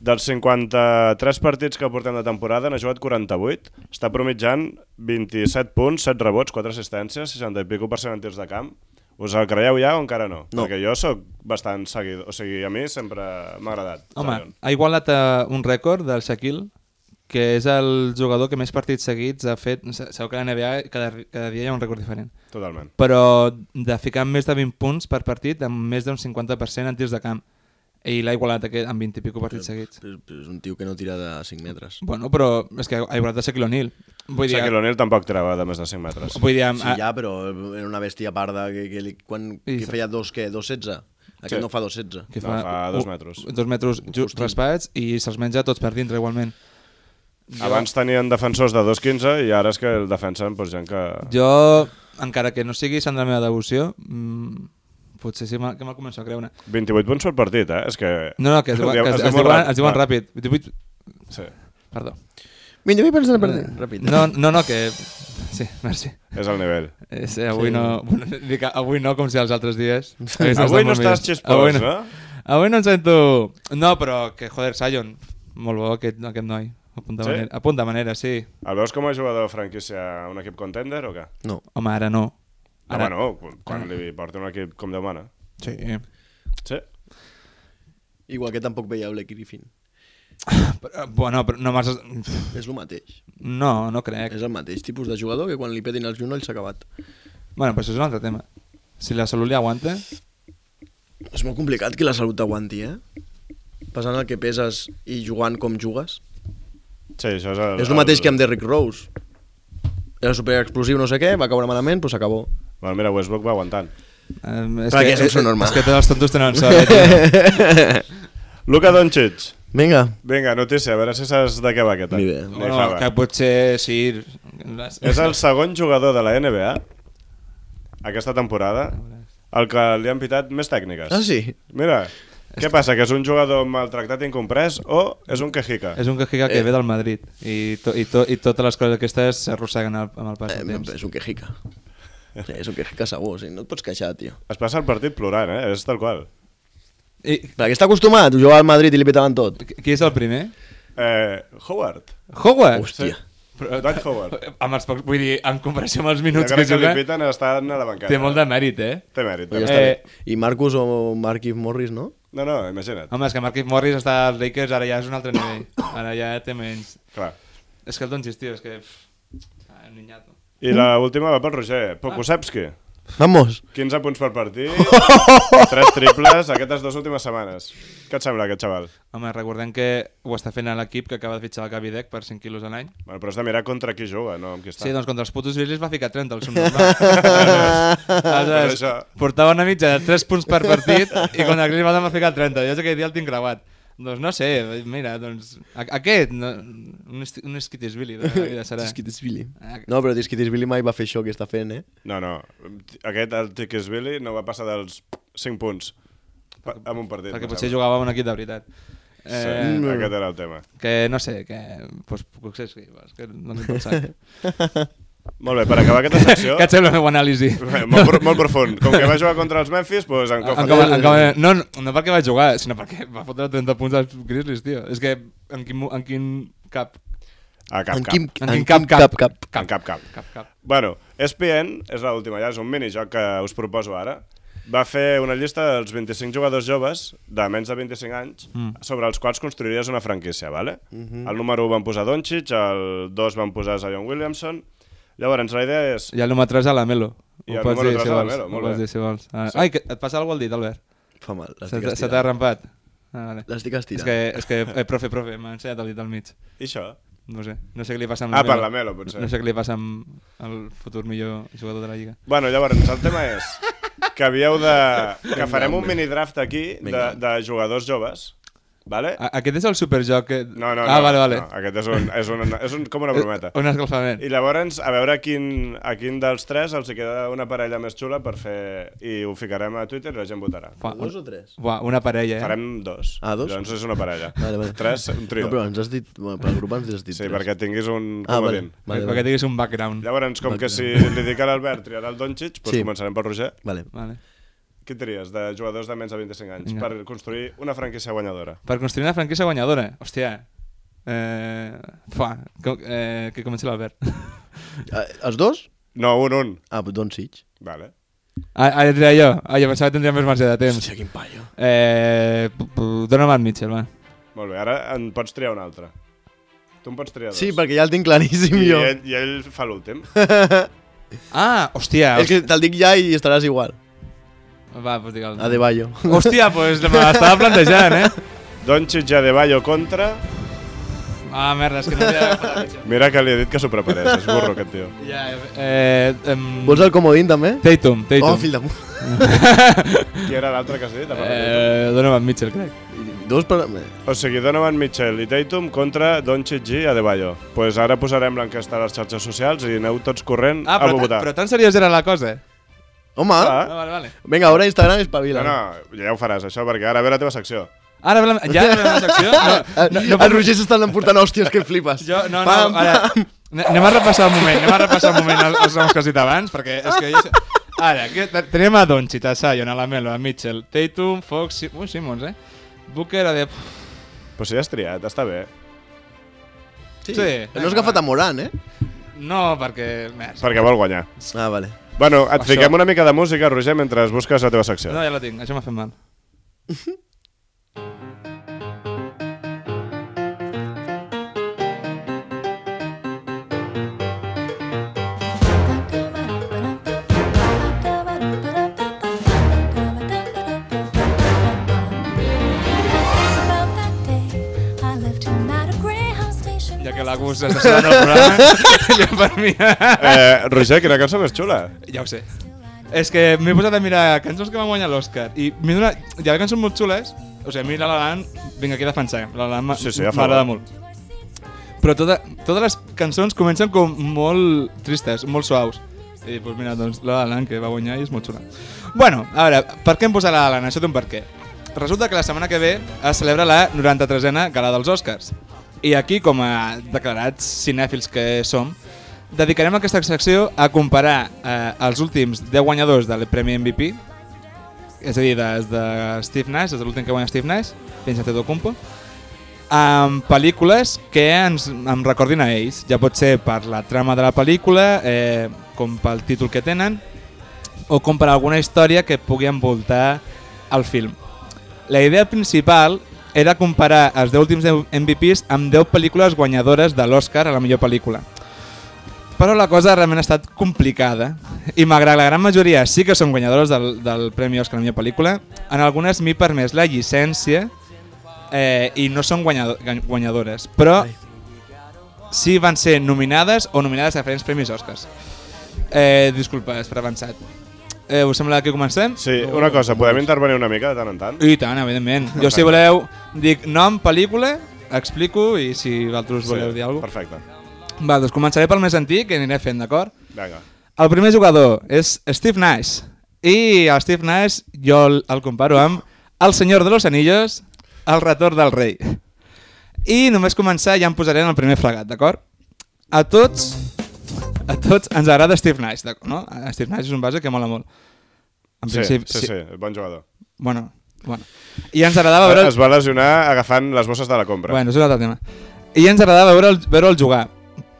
Speaker 2: dels 53 partits que portem de temporada, n'ha jugat 48, està promitjant 27 punts, 7 rebots, 4 assistències, 60 i pico per cent en tirs de camp. Us el creieu ja o encara no?
Speaker 3: No.
Speaker 2: Perquè jo sóc bastant seguidor, o sigui, a mi sempre m'ha agradat.
Speaker 4: Home,
Speaker 2: Zion.
Speaker 4: ha igualat eh, un rècord del Shaquille, que és el jugador que més partits seguits ha fet... Se- Sabeu que a la NBA cada, cada dia hi ha un rècord diferent.
Speaker 2: Totalment.
Speaker 4: Però de ficar més de 20 punts per partit amb més d'un 50% en tirs de camp. I l'ha igualat aquest, amb 20 i pico partits seguits.
Speaker 3: Però, però eh, és un tio que no tira de 5 metres.
Speaker 4: Bueno, però és que ha igualat a Shaquille O'Neal. Vull dir, eh,
Speaker 2: Shaquille O'Neal tampoc treva de més de 5 metres.
Speaker 4: vull dir
Speaker 3: Sí,
Speaker 4: amb,
Speaker 3: ja, però era una bèstia parda que, que, li, quan, que
Speaker 4: I fa-
Speaker 3: feia dos, què? 2,16? Aquest
Speaker 2: Sí.
Speaker 3: no fa 2,16.
Speaker 4: que
Speaker 2: No, fa dos metres.
Speaker 4: Dos metres just raspats i se'ls menja tots per dintre igualment.
Speaker 2: Jo... Abans tenien defensors de 2.15 i ara és que el defensen doncs, gent que...
Speaker 4: Jo, encara que no sigui sant de la meva devoció, mm, potser sí me- que me'l començo a creure.
Speaker 2: 28 punts per partit, eh? És que...
Speaker 4: No, no, que es, diu- que es, es,
Speaker 2: molt
Speaker 4: diuen, es diuen
Speaker 2: Va,
Speaker 4: ràpid. 28...
Speaker 2: Sí.
Speaker 4: Perdó. Eh,
Speaker 5: Millor vull pensar en perdre.
Speaker 3: Ràpid.
Speaker 4: No, no, no, que... Sí, merci.
Speaker 2: És el nivell.
Speaker 4: És, eh, avui, sí. no, bueno, dic, avui no, com si els altres dies. haguessin
Speaker 2: Avui no
Speaker 4: estat
Speaker 2: estàs
Speaker 4: molt
Speaker 2: eh?
Speaker 4: millors.
Speaker 2: xispós, no?
Speaker 4: Avui no em sento... No, però que, joder, Sion, molt bo aquest, aquest noi. A punt de,
Speaker 2: Sí?
Speaker 4: sí? manera, a punt de manera, sí.
Speaker 2: El veus com a jugador de franquícia a un equip contender o què?
Speaker 3: No.
Speaker 4: Home, ara no.
Speaker 2: Ara...
Speaker 4: Ara-
Speaker 2: Home, no, quan- quan li porta un equip com Déu mana.
Speaker 4: Sí.
Speaker 2: Sí.
Speaker 3: Igual que tampoc veia Black Griffin.
Speaker 4: Però, bueno, però no massa...
Speaker 3: És el mateix.
Speaker 4: No, no crec.
Speaker 3: És el mateix tipus de jugador que quan li petin els genolls s'ha acabat.
Speaker 4: Bueno, però això és un altre tema. Si la salut li aguanta... eh,
Speaker 3: És molt complicat que la salut t'aguanti, eh? Passant el que peses i jugant com jugues.
Speaker 2: Sí, això és el...
Speaker 3: És el mateix que amb Derrick Rose. Era super explosiu, no sé què, va caure malament, però s'acabó.
Speaker 2: Bueno, mira, Westbrook va aguantant.
Speaker 4: Um, és,
Speaker 3: Clar que és un subnormal.
Speaker 4: és que tots els tontos tenen sort. Eh?
Speaker 2: Luka Doncic.
Speaker 3: Vinga.
Speaker 2: Vinga, notícia, a veure si saps de què va aquest any.
Speaker 3: Ni idea.
Speaker 2: Ni
Speaker 4: no,
Speaker 2: fava.
Speaker 4: que potser sí... Les...
Speaker 2: És el segon jugador de la NBA aquesta temporada el que li han pitat més tècniques.
Speaker 3: Ah, sí?
Speaker 2: Mira, què passa? Que és un jugador maltractat i incomprès o és un quejica?
Speaker 4: És un quejica
Speaker 2: Eh.
Speaker 4: que ve del Madrid i, to, i, to, i totes les coses aquestes s'arrosseguen al- amb el pas
Speaker 3: Eh,
Speaker 4: del
Speaker 2: doncs
Speaker 4: temps.
Speaker 3: és un quejica. Sí, és un quejica segur, o sigui, no et pots queixar, tio.
Speaker 2: Es passa el partit plorant, eh? És tal qual.
Speaker 4: I,
Speaker 3: Perquè està acostumat, jugava al Madrid i li petaven tot.
Speaker 4: qui- qui és el primer?
Speaker 2: Eh, Howard.
Speaker 4: Howard!
Speaker 3: Hòstia.
Speaker 4: Però-
Speaker 2: Dwight Howard.
Speaker 4: Amb els pocs, vull dir, en comparació amb els
Speaker 2: Jo
Speaker 4: minuts que
Speaker 2: crec que
Speaker 4: juga,
Speaker 2: li piten estan a la banqueta.
Speaker 4: té molt de mèrit, eh?
Speaker 2: Té mèrit. Té
Speaker 3: Ja
Speaker 4: Eh.
Speaker 3: està
Speaker 2: mèrit.
Speaker 3: bé. I Marcus o Marquis Morris, no?
Speaker 2: No, no, imagina't.
Speaker 4: Home, és que Marquis Morris està als Lakers, ara ja és un altre nivell. Ara ja té menys.
Speaker 2: Clar.
Speaker 4: És que el Doncic, tio, és que... pff, ah, Un niñato.
Speaker 2: I la última va pel Roger. Pokusevski.
Speaker 3: Vamos.
Speaker 2: 15 punts per partit, 3 triples aquestes dues últimes setmanes. Què et sembla aquest xaval?
Speaker 4: Home, recordem que ho està fent a l'equip que acaba de fitxar el Gavidec per 5 quilos a l'any.
Speaker 2: Bueno, però has de mirar contra qui juga, no amb qui està.
Speaker 4: Sí, doncs contra els putos grizzlies va ficar 30 al subnormal. Aleshores,
Speaker 2: Però això-
Speaker 4: portava una mitja de 3 punts per partit i contra el grizzlies va ficar 30. Jo aquell dia el tinc creuat. Doncs no sé, mira, doncs... a- Aquest, no, un, esti- un esquitisbili de la vida Ah, serà.
Speaker 3: Disquitisvili.
Speaker 4: Ah,
Speaker 3: No, però Disquitisvili mai va fer això que està fent, eh?
Speaker 2: No, no. Aquest, el Tickesville, no va passar dels 5 punts pa- en un partit.
Speaker 4: perquè
Speaker 2: em
Speaker 4: potser
Speaker 2: sembla.
Speaker 4: jugava amb un equip de veritat. Eh,
Speaker 2: Sí, aquest era el tema.
Speaker 4: que no sé, que... Pues, puc ser escribes, que no m'he pensat.
Speaker 2: Molt bé, per acabar aquesta secció...
Speaker 4: Què et sembla el meu anàlisi?
Speaker 2: Bé, molt, pro- molt profund. Com que va jugar contra els Memphis, doncs en Kofa.
Speaker 4: Acaba, acaba, Ah, no, no, no perquè va jugar, sinó perquè va fotre 30 punts als Grizzlies, tio. És que en quin, mo- en quin cap...
Speaker 2: A cap,
Speaker 3: en
Speaker 2: cap.
Speaker 3: Quim,
Speaker 4: En quin cap, cap,
Speaker 3: cap.
Speaker 2: En cap, cap.
Speaker 4: cap, cap.
Speaker 2: Bueno, E ESPN és l'última, ja és un minijoc que us proposo ara. Va fer una llista dels 25 jugadors joves de menys de 25 anys mm. sobre els quals construiries una franquícia, vale? Mm -hmm. El número 1 van posar Doncic, el 2 van posar Zion Williamson. Llavors, la idea és...
Speaker 4: I el número 3 a la Melo.
Speaker 2: I
Speaker 4: Ho
Speaker 2: el
Speaker 4: pots
Speaker 2: número
Speaker 4: dir,
Speaker 2: tres
Speaker 4: si
Speaker 2: a la
Speaker 4: vols.
Speaker 2: Melo,
Speaker 4: Ho
Speaker 2: molt
Speaker 4: pots
Speaker 2: bé.
Speaker 4: dir, si vols. Ah, Ai, que et passa alguna cosa al dit, Albert?
Speaker 3: Fa mal,
Speaker 4: Se
Speaker 3: l'estic
Speaker 4: t'ha- se t'ha
Speaker 3: estirant.
Speaker 4: rampat. Ah, vale.
Speaker 3: L'estic
Speaker 4: És
Speaker 3: estirant.
Speaker 4: que, és que eh, profe, profe, m'ha ensenyat el dit al mig.
Speaker 2: I això?
Speaker 4: No sé, no sé què li passa amb
Speaker 2: Ah,
Speaker 4: el
Speaker 2: per la Melo, potser.
Speaker 4: No sé què li passa amb el futur millor jugador de la Lliga.
Speaker 2: Bueno, llavors, el tema és que havíeu de... que farem un mini-draft aquí de, de jugadors joves, vale?
Speaker 4: A aquest és el superjoc que...
Speaker 2: No, no,
Speaker 4: ah,
Speaker 2: no,
Speaker 4: vale, vale.
Speaker 2: no. Aquest és, un, és, un, és un, com una brometa.
Speaker 4: Un escalfament.
Speaker 2: I llavors, a veure quin, a quin dels tres els hi queda una parella més xula per fer... I ho ficarem a Twitter i la gent votarà.
Speaker 4: Fa,
Speaker 3: Dos o tres?
Speaker 4: Buah, una parella, eh?
Speaker 2: Farem dos.
Speaker 3: Ah, dos?
Speaker 2: Llavors és una parella.
Speaker 3: Vale, vale.
Speaker 2: Tres, un trio.
Speaker 3: No, però ens has dit... Bueno, pel grup ens has dit
Speaker 2: Sí,
Speaker 3: tres.
Speaker 2: perquè tinguis un
Speaker 3: Ah, vale.
Speaker 2: comodín.
Speaker 4: Vale,
Speaker 3: Vale,
Speaker 4: perquè
Speaker 3: vale.
Speaker 4: tinguis un background.
Speaker 2: Llavors, com que si li dic a l'Albert triarà el Doncic, doncs
Speaker 3: Sí.
Speaker 2: començarem pel Roger.
Speaker 3: Vale.
Speaker 4: Vale.
Speaker 2: Què tries de jugadors de menys de 25 anys
Speaker 4: Vinga.
Speaker 2: per construir una franquícia guanyadora?
Speaker 4: Per construir una franquícia guanyadora, hòstia. Eh, fa, que, eh, que comenci l'Albert.
Speaker 3: Ah, els dos?
Speaker 2: No, un, un.
Speaker 3: Ah, però Don Sitch.
Speaker 2: Vale.
Speaker 4: Ah, ah, era jo. Ah, jo pensava que tindria més marge de temps.
Speaker 3: Hòstia, quin paio.
Speaker 4: Eh, pu- pu- Dona'm el Mitchell, va.
Speaker 2: Molt bé, ara en pots triar un altre. Tu en pots triar dos.
Speaker 3: Sí, perquè ja el tinc claríssim
Speaker 2: I
Speaker 3: jo.
Speaker 2: ell, I ell fa l'últim.
Speaker 4: Ah, hòstia.
Speaker 2: eh.
Speaker 3: És que te'l dic ja i estaràs igual.
Speaker 4: Va, pues digue'l.
Speaker 3: A Ah, De Bayo.
Speaker 4: Hòstia, pues me l'estava plantejant, eh?
Speaker 2: Doncic i Adebayo contra
Speaker 4: Ah, merda, és que no havia agafat la pitjor.
Speaker 2: Mira que li he dit que s'ho preparés, és burro aquest tio.
Speaker 4: Ja, eh... em-
Speaker 3: Vols el comodín, també?
Speaker 4: Tatum, Tatum.
Speaker 3: Oh, fill de... mu-
Speaker 2: Qui era l'altre que has dit?
Speaker 4: Eh, Donovan Mitchell, crec.
Speaker 3: Dos per...
Speaker 2: Eh, O sigui, Donovan Mitchell i Tatum contra Doncic i Adebayo. Doncs pues ara posarem l'enquesta a les xarxes socials i aneu tots corrent
Speaker 4: Ah,
Speaker 2: a
Speaker 4: però,
Speaker 2: votar.
Speaker 4: però tan seriós era la cosa, eh?
Speaker 3: Home,
Speaker 2: Ah.
Speaker 4: Ah, vale, vale.
Speaker 3: vinga, ara Instagram espavila.
Speaker 2: No, no, ja ho faràs, això, perquè ara ve la teva secció.
Speaker 4: Ara ve la, ja ve la secció? No,
Speaker 3: No, Ah, no, el Roger s'estan emportant hòsties que flipes.
Speaker 4: jo, no, no,
Speaker 3: Pam,
Speaker 4: ara... Ane- Anem a repassar un moment, anem a repassar un moment els, els noms que has dit abans, perquè és que... Jo... Ara, que te- tenim a Doncic, a Sion, a la Melo, a Mitchell, Tatum, Fox... Si... Ui, Simons, eh? Booker, a de...
Speaker 2: Però si has triat, està bé.
Speaker 3: Sí.
Speaker 4: Sí.
Speaker 3: No has agafat a Moran, eh?
Speaker 4: No, perquè... Més.
Speaker 2: Perquè vol guanyar.
Speaker 3: Ah, vale.
Speaker 2: Bueno, et
Speaker 4: Això.
Speaker 2: fiquem una mica de música, Roger, mentre busques la teva secció.
Speaker 4: No, ja la tinc, això m'ha fet mal.
Speaker 6: Ja
Speaker 4: Ja
Speaker 6: que
Speaker 4: que
Speaker 6: la
Speaker 4: l'Agus està sonant el programa, jo per mi...
Speaker 2: Eh, Roger, quina cançó més xula.
Speaker 4: Ja ho sé. És que m'he posat a mirar cançons que van guanyar l'Oscar i m'he donat... Hi ha cançons molt xules, o sigui, a mi la La Land, vinc aquí a defensar, la La Land
Speaker 2: Sí,
Speaker 4: sí,
Speaker 2: sí,
Speaker 4: sí,
Speaker 2: a favor.
Speaker 4: m'agrada molt. Però tota, totes les cançons comencen com molt tristes, molt suaus. I doncs mira, doncs la La Land que va guanyar i és molt xula. Bueno, a veure, per què hem posat la La Land? Això té un per què. Resulta que la setmana que ve es celebra la 93a Gala dels Oscars. I aquí, com a declarats cinèfils que som, dedicarem aquesta secció a comparar eh, els últims 10 guanyadors del Premi MVP, és a dir, des de Steve Nash, des de l'últim que guanya Steve Nash, fins a Tedo amb pel·lícules que ens em recordin a ells. Ja pot ser per la trama de la pel·lícula, eh, com pel títol que tenen, o com per alguna història que pugui envoltar el film. La idea principal era comparar els 10 últims MVPs amb 10 pel·lícules guanyadores de l'Oscar a la millor pel·lícula. Però la cosa realment ha estat complicada i malgrat la gran majoria sí que són guanyadores del, del Premi Oscar a la millor pel·lícula, en algunes m'hi permès la llicència eh, i no són guanyado guany- guanyadores, però sí van ser nominades o nominades a diferents Premis Oscars. Eh, disculpa, és per avançat. Eh, us sembla que comencem?
Speaker 2: Sí, una cosa, podem intervenir una mica de tant en tant?
Speaker 4: I tant, evidentment. Jo, si voleu, dic nom, pel·lícula, explico i si vosaltres voleu dir alguna cosa.
Speaker 2: Perfecte.
Speaker 4: Va, doncs començaré pel més antic i aniré fent, d'acord?
Speaker 2: Vinga.
Speaker 4: El primer jugador és Steve Nash. I el Steve Nash jo el, el comparo amb El senyor de los anillos, El retorn del rei. I només començar ja em posaré en el primer fregat, d'acord? A tots, a tots ens agrada Steve Nash, d'acord, no? Steve Nash és un base que mola molt. En
Speaker 2: Sí, sí,
Speaker 4: principi,
Speaker 2: sí, sí, bon jugador.
Speaker 4: Bueno, bueno. I ens
Speaker 3: Ah,
Speaker 4: agradava veure...
Speaker 2: Es va lesionar agafant les bosses de la compra.
Speaker 4: Bueno, és un altre tema. I ens agradava veure'l veure jugar.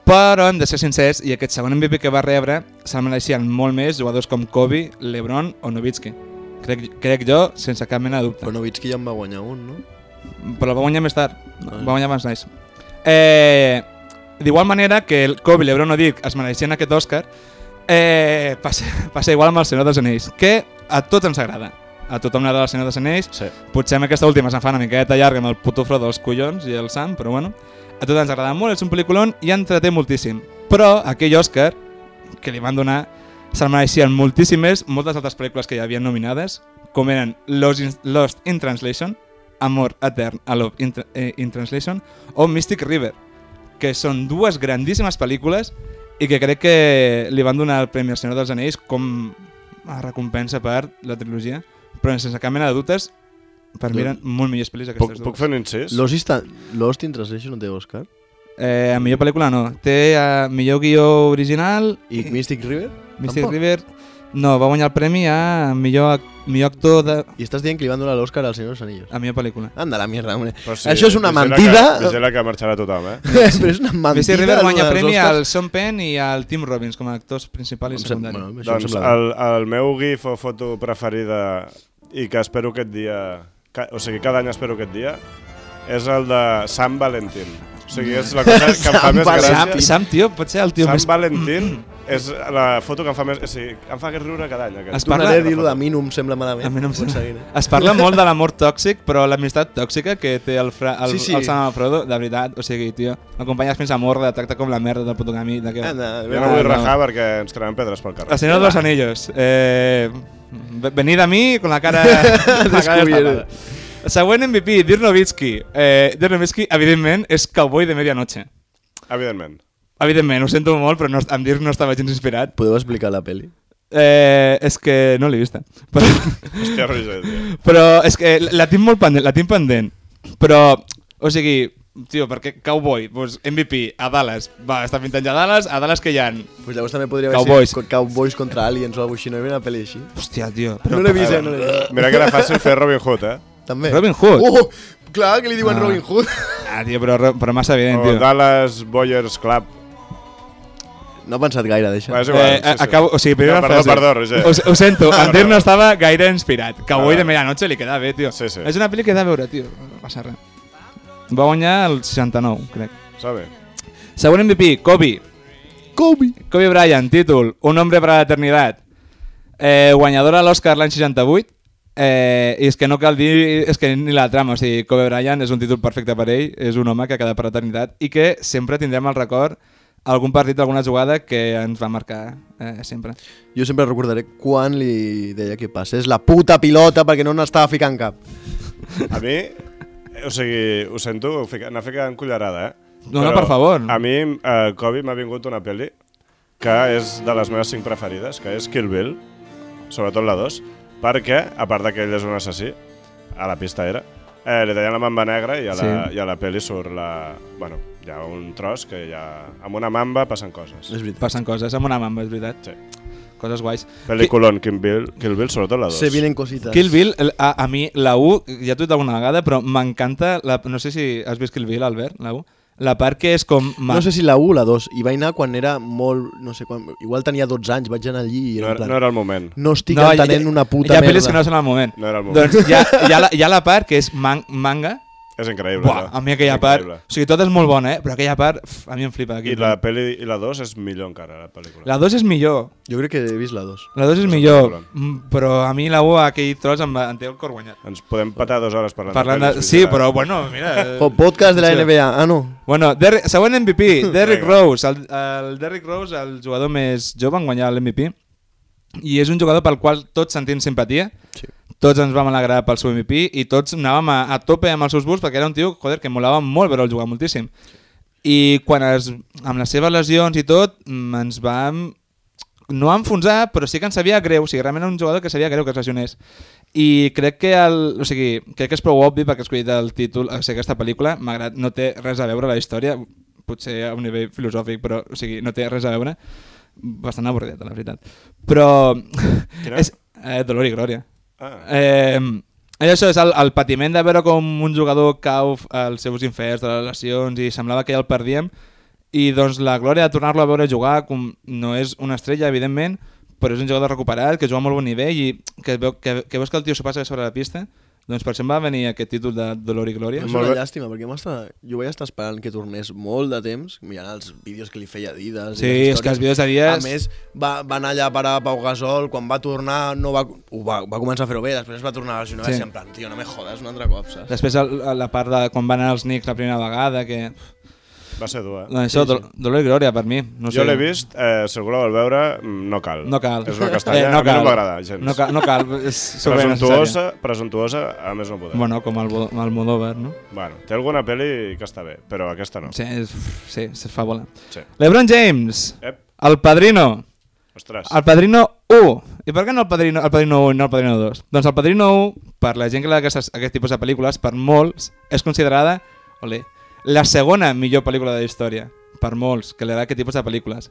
Speaker 4: Però hem de ser sincers, i aquest segon MVP que va rebre se'l mereixien molt més jugadors com Kobe, Lebron o Nowitzki. Crec, crec jo, sense cap mena de dubte.
Speaker 3: Però Novitski ja en va guanyar un, no?
Speaker 4: Però el va guanyar més tard. Va guanyar abans Nash. Eh, D'igual manera que el Kobe, Lebron o Dirk es mereixien aquest Òscar, eh, passa, passa igual amb el Senyor dels Anells, que a tots ens agrada. A tothom li agrada el Senyor dels Anells,
Speaker 2: Sí.
Speaker 4: Potser amb aquesta última se'n fa una miqueta llarga amb el puto fro dels collons i el Sam, però bueno. A tots ens agrada molt, és un pel·lículon i entreté moltíssim. Però aquell Òscar que li van donar se'l mereixien moltíssim més moltes altres pel·lícules que hi havia nominades, com eren Lost in, Lost in Translation, Amor Etern a Love in, Tra- eh, in Translation o Mystic River, que són dues grandíssimes pel·lícules i que crec que li van donar el Premi al Senyor dels Anells com a recompensa per la trilogia, però sense cap mena de dubtes, per mi eren molt millors pel·lis
Speaker 2: Puc,
Speaker 4: aquestes
Speaker 2: puc
Speaker 4: dues.
Speaker 2: fer un incís?
Speaker 3: Lost, Insta... Lost in Translation no té Oscar?
Speaker 4: Eh, a millor pel·lícula no. Té a millor guió original,
Speaker 3: I Mystic River?
Speaker 4: Mystic
Speaker 3: Tampoc.
Speaker 4: River... No, va guanyar el premi a millor, ac- millor actor de...
Speaker 3: I estàs dient que li van donar l'Oscar al Senyor dels Anillos.
Speaker 4: a millor pel·lícula.
Speaker 3: Anda, la mierda, hombre.
Speaker 2: Però
Speaker 4: Pues
Speaker 3: Sí, Això és una
Speaker 2: vigila
Speaker 3: mentida.
Speaker 2: Que, vigila que marxarà tothom, eh?
Speaker 3: Però és una mentida.
Speaker 4: Mystic River
Speaker 3: lo
Speaker 4: guanya
Speaker 3: dels
Speaker 4: premi
Speaker 3: Oscars.
Speaker 4: al Sean Penn i al Tim Robbins com a actors principals
Speaker 3: Em
Speaker 4: i
Speaker 3: sem-
Speaker 4: secundaris.
Speaker 3: Bueno, això
Speaker 2: Doncs
Speaker 3: em sembla...
Speaker 2: el, el meu gif o foto preferida i que espero aquest dia, ca, o sigui, cada any espero aquest dia, és el de Sant Valentín. O sigui, és la cosa que em fa
Speaker 3: Sant
Speaker 2: més
Speaker 3: Valentín.
Speaker 2: gràcia.
Speaker 4: Sam, Sam, tio, pot ser el tio
Speaker 2: Sant
Speaker 4: més...
Speaker 2: Valentín És la foto que em fa més... O sigui, em fa riure cada any.
Speaker 4: Es
Speaker 2: Aquest.
Speaker 3: Tu
Speaker 4: parla-
Speaker 3: Tornaré a dir-ho, a mi no em sembla malament.
Speaker 4: A mi no em
Speaker 3: Pot
Speaker 4: sembla.
Speaker 3: seguir.
Speaker 4: Es parla molt de l'amor tòxic, però l'amistat tòxica que té el, fra, el,
Speaker 3: Sí,
Speaker 4: sí,
Speaker 3: sí.
Speaker 4: sí. el Sam Alfredo, de veritat, o sigui, tio, l'acompanyes fins a mort, la tracta com la merda del puto camí. De que...
Speaker 3: Anda, a
Speaker 2: Jo
Speaker 3: veure.
Speaker 2: no vull
Speaker 4: No, no.
Speaker 2: rajar perquè ens trenen pedres pel
Speaker 4: El
Speaker 3: Ah,
Speaker 2: carrer.
Speaker 4: Senyor dels Anillos. Eh, ve- venid a mi con la cara... con la cara
Speaker 3: Descubierto.
Speaker 4: destapada. Següent MVP, Dirk Nowitzki. Eh, Dirk Nowitzki, evidentment, és cowboy de medianoche.
Speaker 2: Evidentment.
Speaker 4: Evidentment, ho sento molt, però no, amb Dirk no estava gens inspirat.
Speaker 3: Podeu explicar la peli?
Speaker 4: Eh, és que no l'he vista. Però...
Speaker 2: Hòstia, Roger, tio.
Speaker 4: Però és que la tinc molt pendent, la tinc pendent. Però, o sigui, tio, perquè Cowboy, doncs MVP, a Dallas, va, està pintant a Dallas, a Dallas que hi ha...
Speaker 3: Pues llavors també podria haver
Speaker 4: Cowboys.
Speaker 3: sigut Cowboys contra Aliens o alguna cosa així, no hi havia una pel·li així?
Speaker 4: Hòstia, tio.
Speaker 3: No l'he vist, eh? No l'he vist.
Speaker 2: Mira que era fàcil fer Robin Hood, eh?
Speaker 3: També.
Speaker 4: Robin Hood.
Speaker 3: Oh, clar, que li diuen
Speaker 4: Ah.
Speaker 3: Robin Hood.
Speaker 4: Ah, tio, però, però massa evident,
Speaker 2: O
Speaker 4: tio.
Speaker 2: Dallas Boyers Club.
Speaker 3: No he pensat gaire d'això.
Speaker 2: Va, és igual.
Speaker 4: Eh, a- acabo, o sigui, primera
Speaker 2: No, perdó,
Speaker 4: frase.
Speaker 2: perdó, Roger.
Speaker 4: Ho, s- ho sento, en
Speaker 2: Perdó.
Speaker 4: Dirk no estava gaire inspirat. Cowboy
Speaker 2: Ah.
Speaker 4: de Medianoche li queda bé, tio.
Speaker 2: Sí, sí.
Speaker 4: És una pel·li que he de veure, tio. No passa res. Va guanyar el 69, crec.
Speaker 2: Sabe?
Speaker 4: Següent MVP, Kobe.
Speaker 3: Kobe.
Speaker 4: Kobe Bryant, títol, Un hombre para la eternidad. Eh, guanyadora a l'Oscar l'any 68. Eh, I és que no cal dir és que ni la trama. O sigui, Kobe Bryant és un títol perfecte per ell, és un home que ha quedat per l'eternitat i que sempre tindrem el record algun partit, alguna jugada que ens va marcar eh, sempre.
Speaker 3: Jo sempre recordaré quan li deia que passés la puta pilota perquè no n'estava ficant cap.
Speaker 2: A mi, eh, o sigui, ho sento, fica- anar ficant cullerada, eh?
Speaker 4: No, no, per favor.
Speaker 2: A mi, eh, Kobe m'ha vingut una pel·li que és de les meves cinc preferides, que és Kill Bill, sobretot la 2, perquè, a part de que ell és un assassí, a la pista era, eh, li tallen la mamba negra i a la,
Speaker 4: Sí.
Speaker 2: i a la pel·li surt la... Bueno, hi ha un tros que hi ha... Amb una mamba passen coses.
Speaker 3: És veritat.
Speaker 4: Passen coses amb una mamba, és veritat.
Speaker 2: Sí.
Speaker 4: Coses guais.
Speaker 2: Pel·liculon, Kill Bill, Kill Bill sobretot la 2.
Speaker 3: Se vienen cositas.
Speaker 4: Kill Bill, el- a, a mi, la 1, ja t'ho he dit alguna vegada, però m'encanta, la- no sé si has vist Kill Bill, Albert, la 1, la part que és com...
Speaker 3: No sé si la 1 o la 2. I vaig anar quan era molt... No sé, quan, igual tenia 12 anys, vaig anar allí i
Speaker 2: No,
Speaker 3: era en
Speaker 2: era,
Speaker 3: plan...
Speaker 2: no era el moment.
Speaker 3: No estic no, entenent una puta
Speaker 4: hi ha, hi ha
Speaker 3: merda.
Speaker 4: pel·lis que no són al moment.
Speaker 2: No era el moment.
Speaker 4: Doncs hi ha, hi ha, la, hi ha la part que és man manga,
Speaker 2: És increïble.
Speaker 4: Buah,
Speaker 2: allò.
Speaker 4: a mi aquella
Speaker 2: És
Speaker 4: part...
Speaker 2: increïble.
Speaker 4: O sigui, tot és molt bona, eh? Però aquella part, ff, a mi em flipa.
Speaker 2: I
Speaker 4: Kill
Speaker 2: la
Speaker 4: Bill.
Speaker 2: peli i la 2 és millor encara, la pel·lícula.
Speaker 4: la 2 és millor,
Speaker 3: Jo crec que he vist la 2.
Speaker 4: la 2 és
Speaker 2: És
Speaker 4: millor,
Speaker 2: un
Speaker 4: mm, però a mi la 1 aquell tros em, va- em té el cor guanyat.
Speaker 2: Ens podem patar dues hores parlant,
Speaker 4: Parlant de...
Speaker 2: pel·lis,
Speaker 4: Sí,
Speaker 2: vull dir,
Speaker 4: però bueno, mira... eh,
Speaker 3: O podcast de la
Speaker 4: sí.
Speaker 3: NBA. Ah, no.
Speaker 4: Bueno, Derrick, següent MVP, Derrick
Speaker 2: Vinga.
Speaker 4: Rose. El, el Derrick Rose, el jugador més jove, en guanyar l'MVP. I és un jugador pel qual tots sentim simpatia.
Speaker 3: Sí.
Speaker 4: Tots ens vam alegrar pel seu MVP i tots anàvem a, a tope amb els seus busts perquè era un tio joder, que molava molt veure'l jugar moltíssim. I quan es, amb les seves lesions i tot, mm, ens vam no enfonsar, però sí que ens sabia greu, o sigui, realment era un jugador que sabia greu que es lesionés. I crec que, el, o sigui, crec que és prou obvi perquè he escollit el títol, o sigui, aquesta pel·lícula, malgrat no té res a veure la història, potser a un nivell filosòfic, però o sigui, no té res a veure, bastant avorrideta, la veritat. Però...
Speaker 2: Quina?
Speaker 4: és, eh, Dolor i Glòria.
Speaker 2: Ah,
Speaker 4: Eh, i això és el, el patiment de veure com un jugador cau als seus inferns de les lesions i semblava que ja el perdíem i doncs la glòria de tornar-lo a veure jugar com, no és una estrella, evidentment però és un jugador recuperat, que juga a molt bon nivell i que, veu, que, que veus que el tio s'ho passa sobre la pista doncs per això em va venir aquest títol de Dolor i Glòria
Speaker 3: És
Speaker 2: Molt bé.
Speaker 3: una llàstima, perquè hem estat, jo vaig estar esperant que tornés molt de temps, mirant els vídeos que li feia Adidas. i les
Speaker 4: Sí, és
Speaker 3: històries.
Speaker 4: que els vídeos d'Adidas-
Speaker 3: A més, va, va anar allà a parar a Pau Gasol, quan va tornar no va, ho va, va començar a fer-ho bé, després es va tornar a lesionar
Speaker 4: Sí.
Speaker 3: sí. i en plan, tio, no me jodes un altre cop, saps?
Speaker 4: després el, la part de quan van anar els Knicks la primera vegada que...
Speaker 2: va ser dur, eh?
Speaker 4: Doncs això, Dol- Dolor i Glòria per mi no
Speaker 2: jo
Speaker 4: sé.
Speaker 2: l'he vist, eh, si algú la vol veure, mm, no cal.
Speaker 4: no cal.
Speaker 2: És una castanya, a mi no m'agrada gens.
Speaker 4: No cal, no cal. És
Speaker 2: Presuntuosa, presuntuosa, a més no podem. Bueno.
Speaker 4: Bueno, com el, Bo- el Modóvar, no?
Speaker 2: bueno, té alguna pel·li que està bé, però aquesta no.
Speaker 4: Sí, és, sí, se fa volar.
Speaker 2: Sí.
Speaker 4: LeBron James,
Speaker 2: Ep,
Speaker 4: el Padrino,
Speaker 2: ostres.
Speaker 4: el Padrino 1. I per què no el Padrino, el Padrino 1 i no el Padrino 2? Doncs el Padrino 1, per la gent que l'ha aquestes, aquest tipus de pel·lícules, per molts, és considerada olé, la segona millor pel·lícula de la història. Per molts, que li agrada aquest tipus de pel·lícules.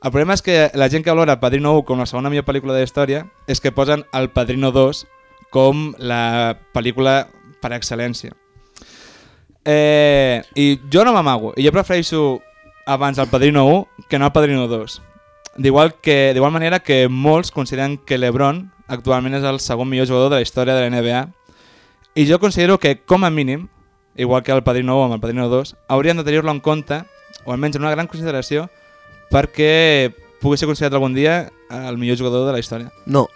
Speaker 4: El problema és que la gent que valora el Padrino 1 com la segona millor pel·lícula de la història és que posen el Padrino 2 com la pel·lícula per excel·lència. Eh, I jo no m'amago. I jo prefereixo abans el Padrino 1 que no el Padrino 2. D'igual que d'igual manera que molts consideren que LeBron actualment és el segon millor jugador de la història de la NBA. I jo considero que, com a mínim, igual que el Padrino 1 amb el Padrino 2, haurien de tenir-lo en compte, o almenys en una gran consideració, perquè pugui ser considerat algun dia el millor jugador de la història.
Speaker 3: No.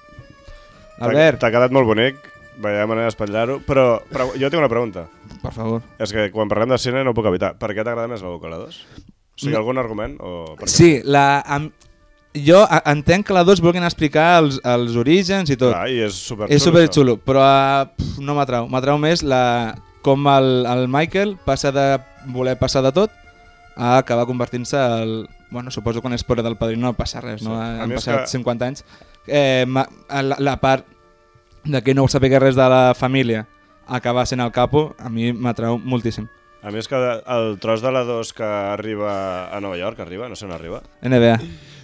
Speaker 4: Albert,
Speaker 2: T'ha quedat molt bonic, veia manera d'espatllar-ho, però, però jo tinc una pregunta.
Speaker 4: per favor.
Speaker 2: És que quan parlem de cine no ho puc evitar. Per què t'agrada més la boca, la 2? O sigui,
Speaker 4: No.
Speaker 2: algun argument? O per què?
Speaker 4: Mm. Sí, la, am, jo a- entenc que la 2 vulguin explicar els, els orígens i tot.
Speaker 2: Clar, i és super
Speaker 4: és super xulo, però uh, pf, no m'atrau. M'atrau més la, com el, el Michael passa de voler passar de tot a acabar convertint-se al... Bueno, suposo que quan és pobre del padrino no passa res, no?
Speaker 2: Sí. A
Speaker 4: Han
Speaker 2: mi és
Speaker 4: passat
Speaker 2: que-
Speaker 4: 50 anys. Eh, ma, la, la part de que no sapigué res de la família acabar sent el capo, a mi m'atrau moltíssim.
Speaker 2: A mi és que el tros de la 2 que arriba a Nova York, arriba, no sé on arriba.
Speaker 4: NBA.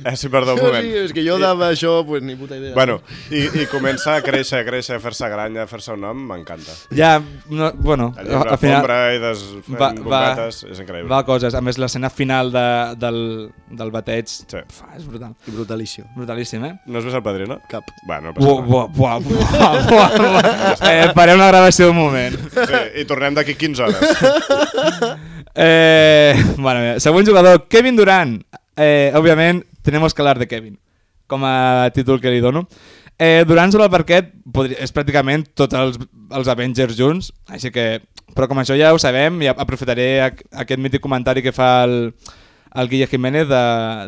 Speaker 2: Eh, sí, perdó, un moment.
Speaker 3: Sí, és que jo dava això, pues, ni puta idea.
Speaker 2: Bueno, i, i comença a créixer, a créixer, a fer-se granya, a fer-se un nom, m'encanta.
Speaker 4: Ja, no, bueno,
Speaker 2: El llibre,
Speaker 4: al final...
Speaker 2: fombra i des...
Speaker 4: va, va,
Speaker 2: bombetes, és increïble.
Speaker 4: va a coses. A més, l'escena final de, del, del bateig sí. fa, és brutal.
Speaker 3: Brutalíssim.
Speaker 4: Brutalíssim, eh?
Speaker 2: No has vist el padrino?
Speaker 3: Cap.
Speaker 2: Va, no passa
Speaker 4: Buah,
Speaker 2: res.
Speaker 4: buah, buah, buah, buah, buah. Eh, parem la gravació un moment.
Speaker 2: Sí, I tornem d'aquí 15 hores.
Speaker 4: Eh, bueno, mira, següent jugador, Kevin Durant. Eh, òbviament, tenemos que hablar de Kevin, com a títol que li dono. Eh, Durant sobre el parquet podria, és pràcticament tots els, els Avengers junts, així que... Però com això ja ho sabem, ja aprofitaré ac- aquest mític comentari que fa el, el Guille Jiménez de,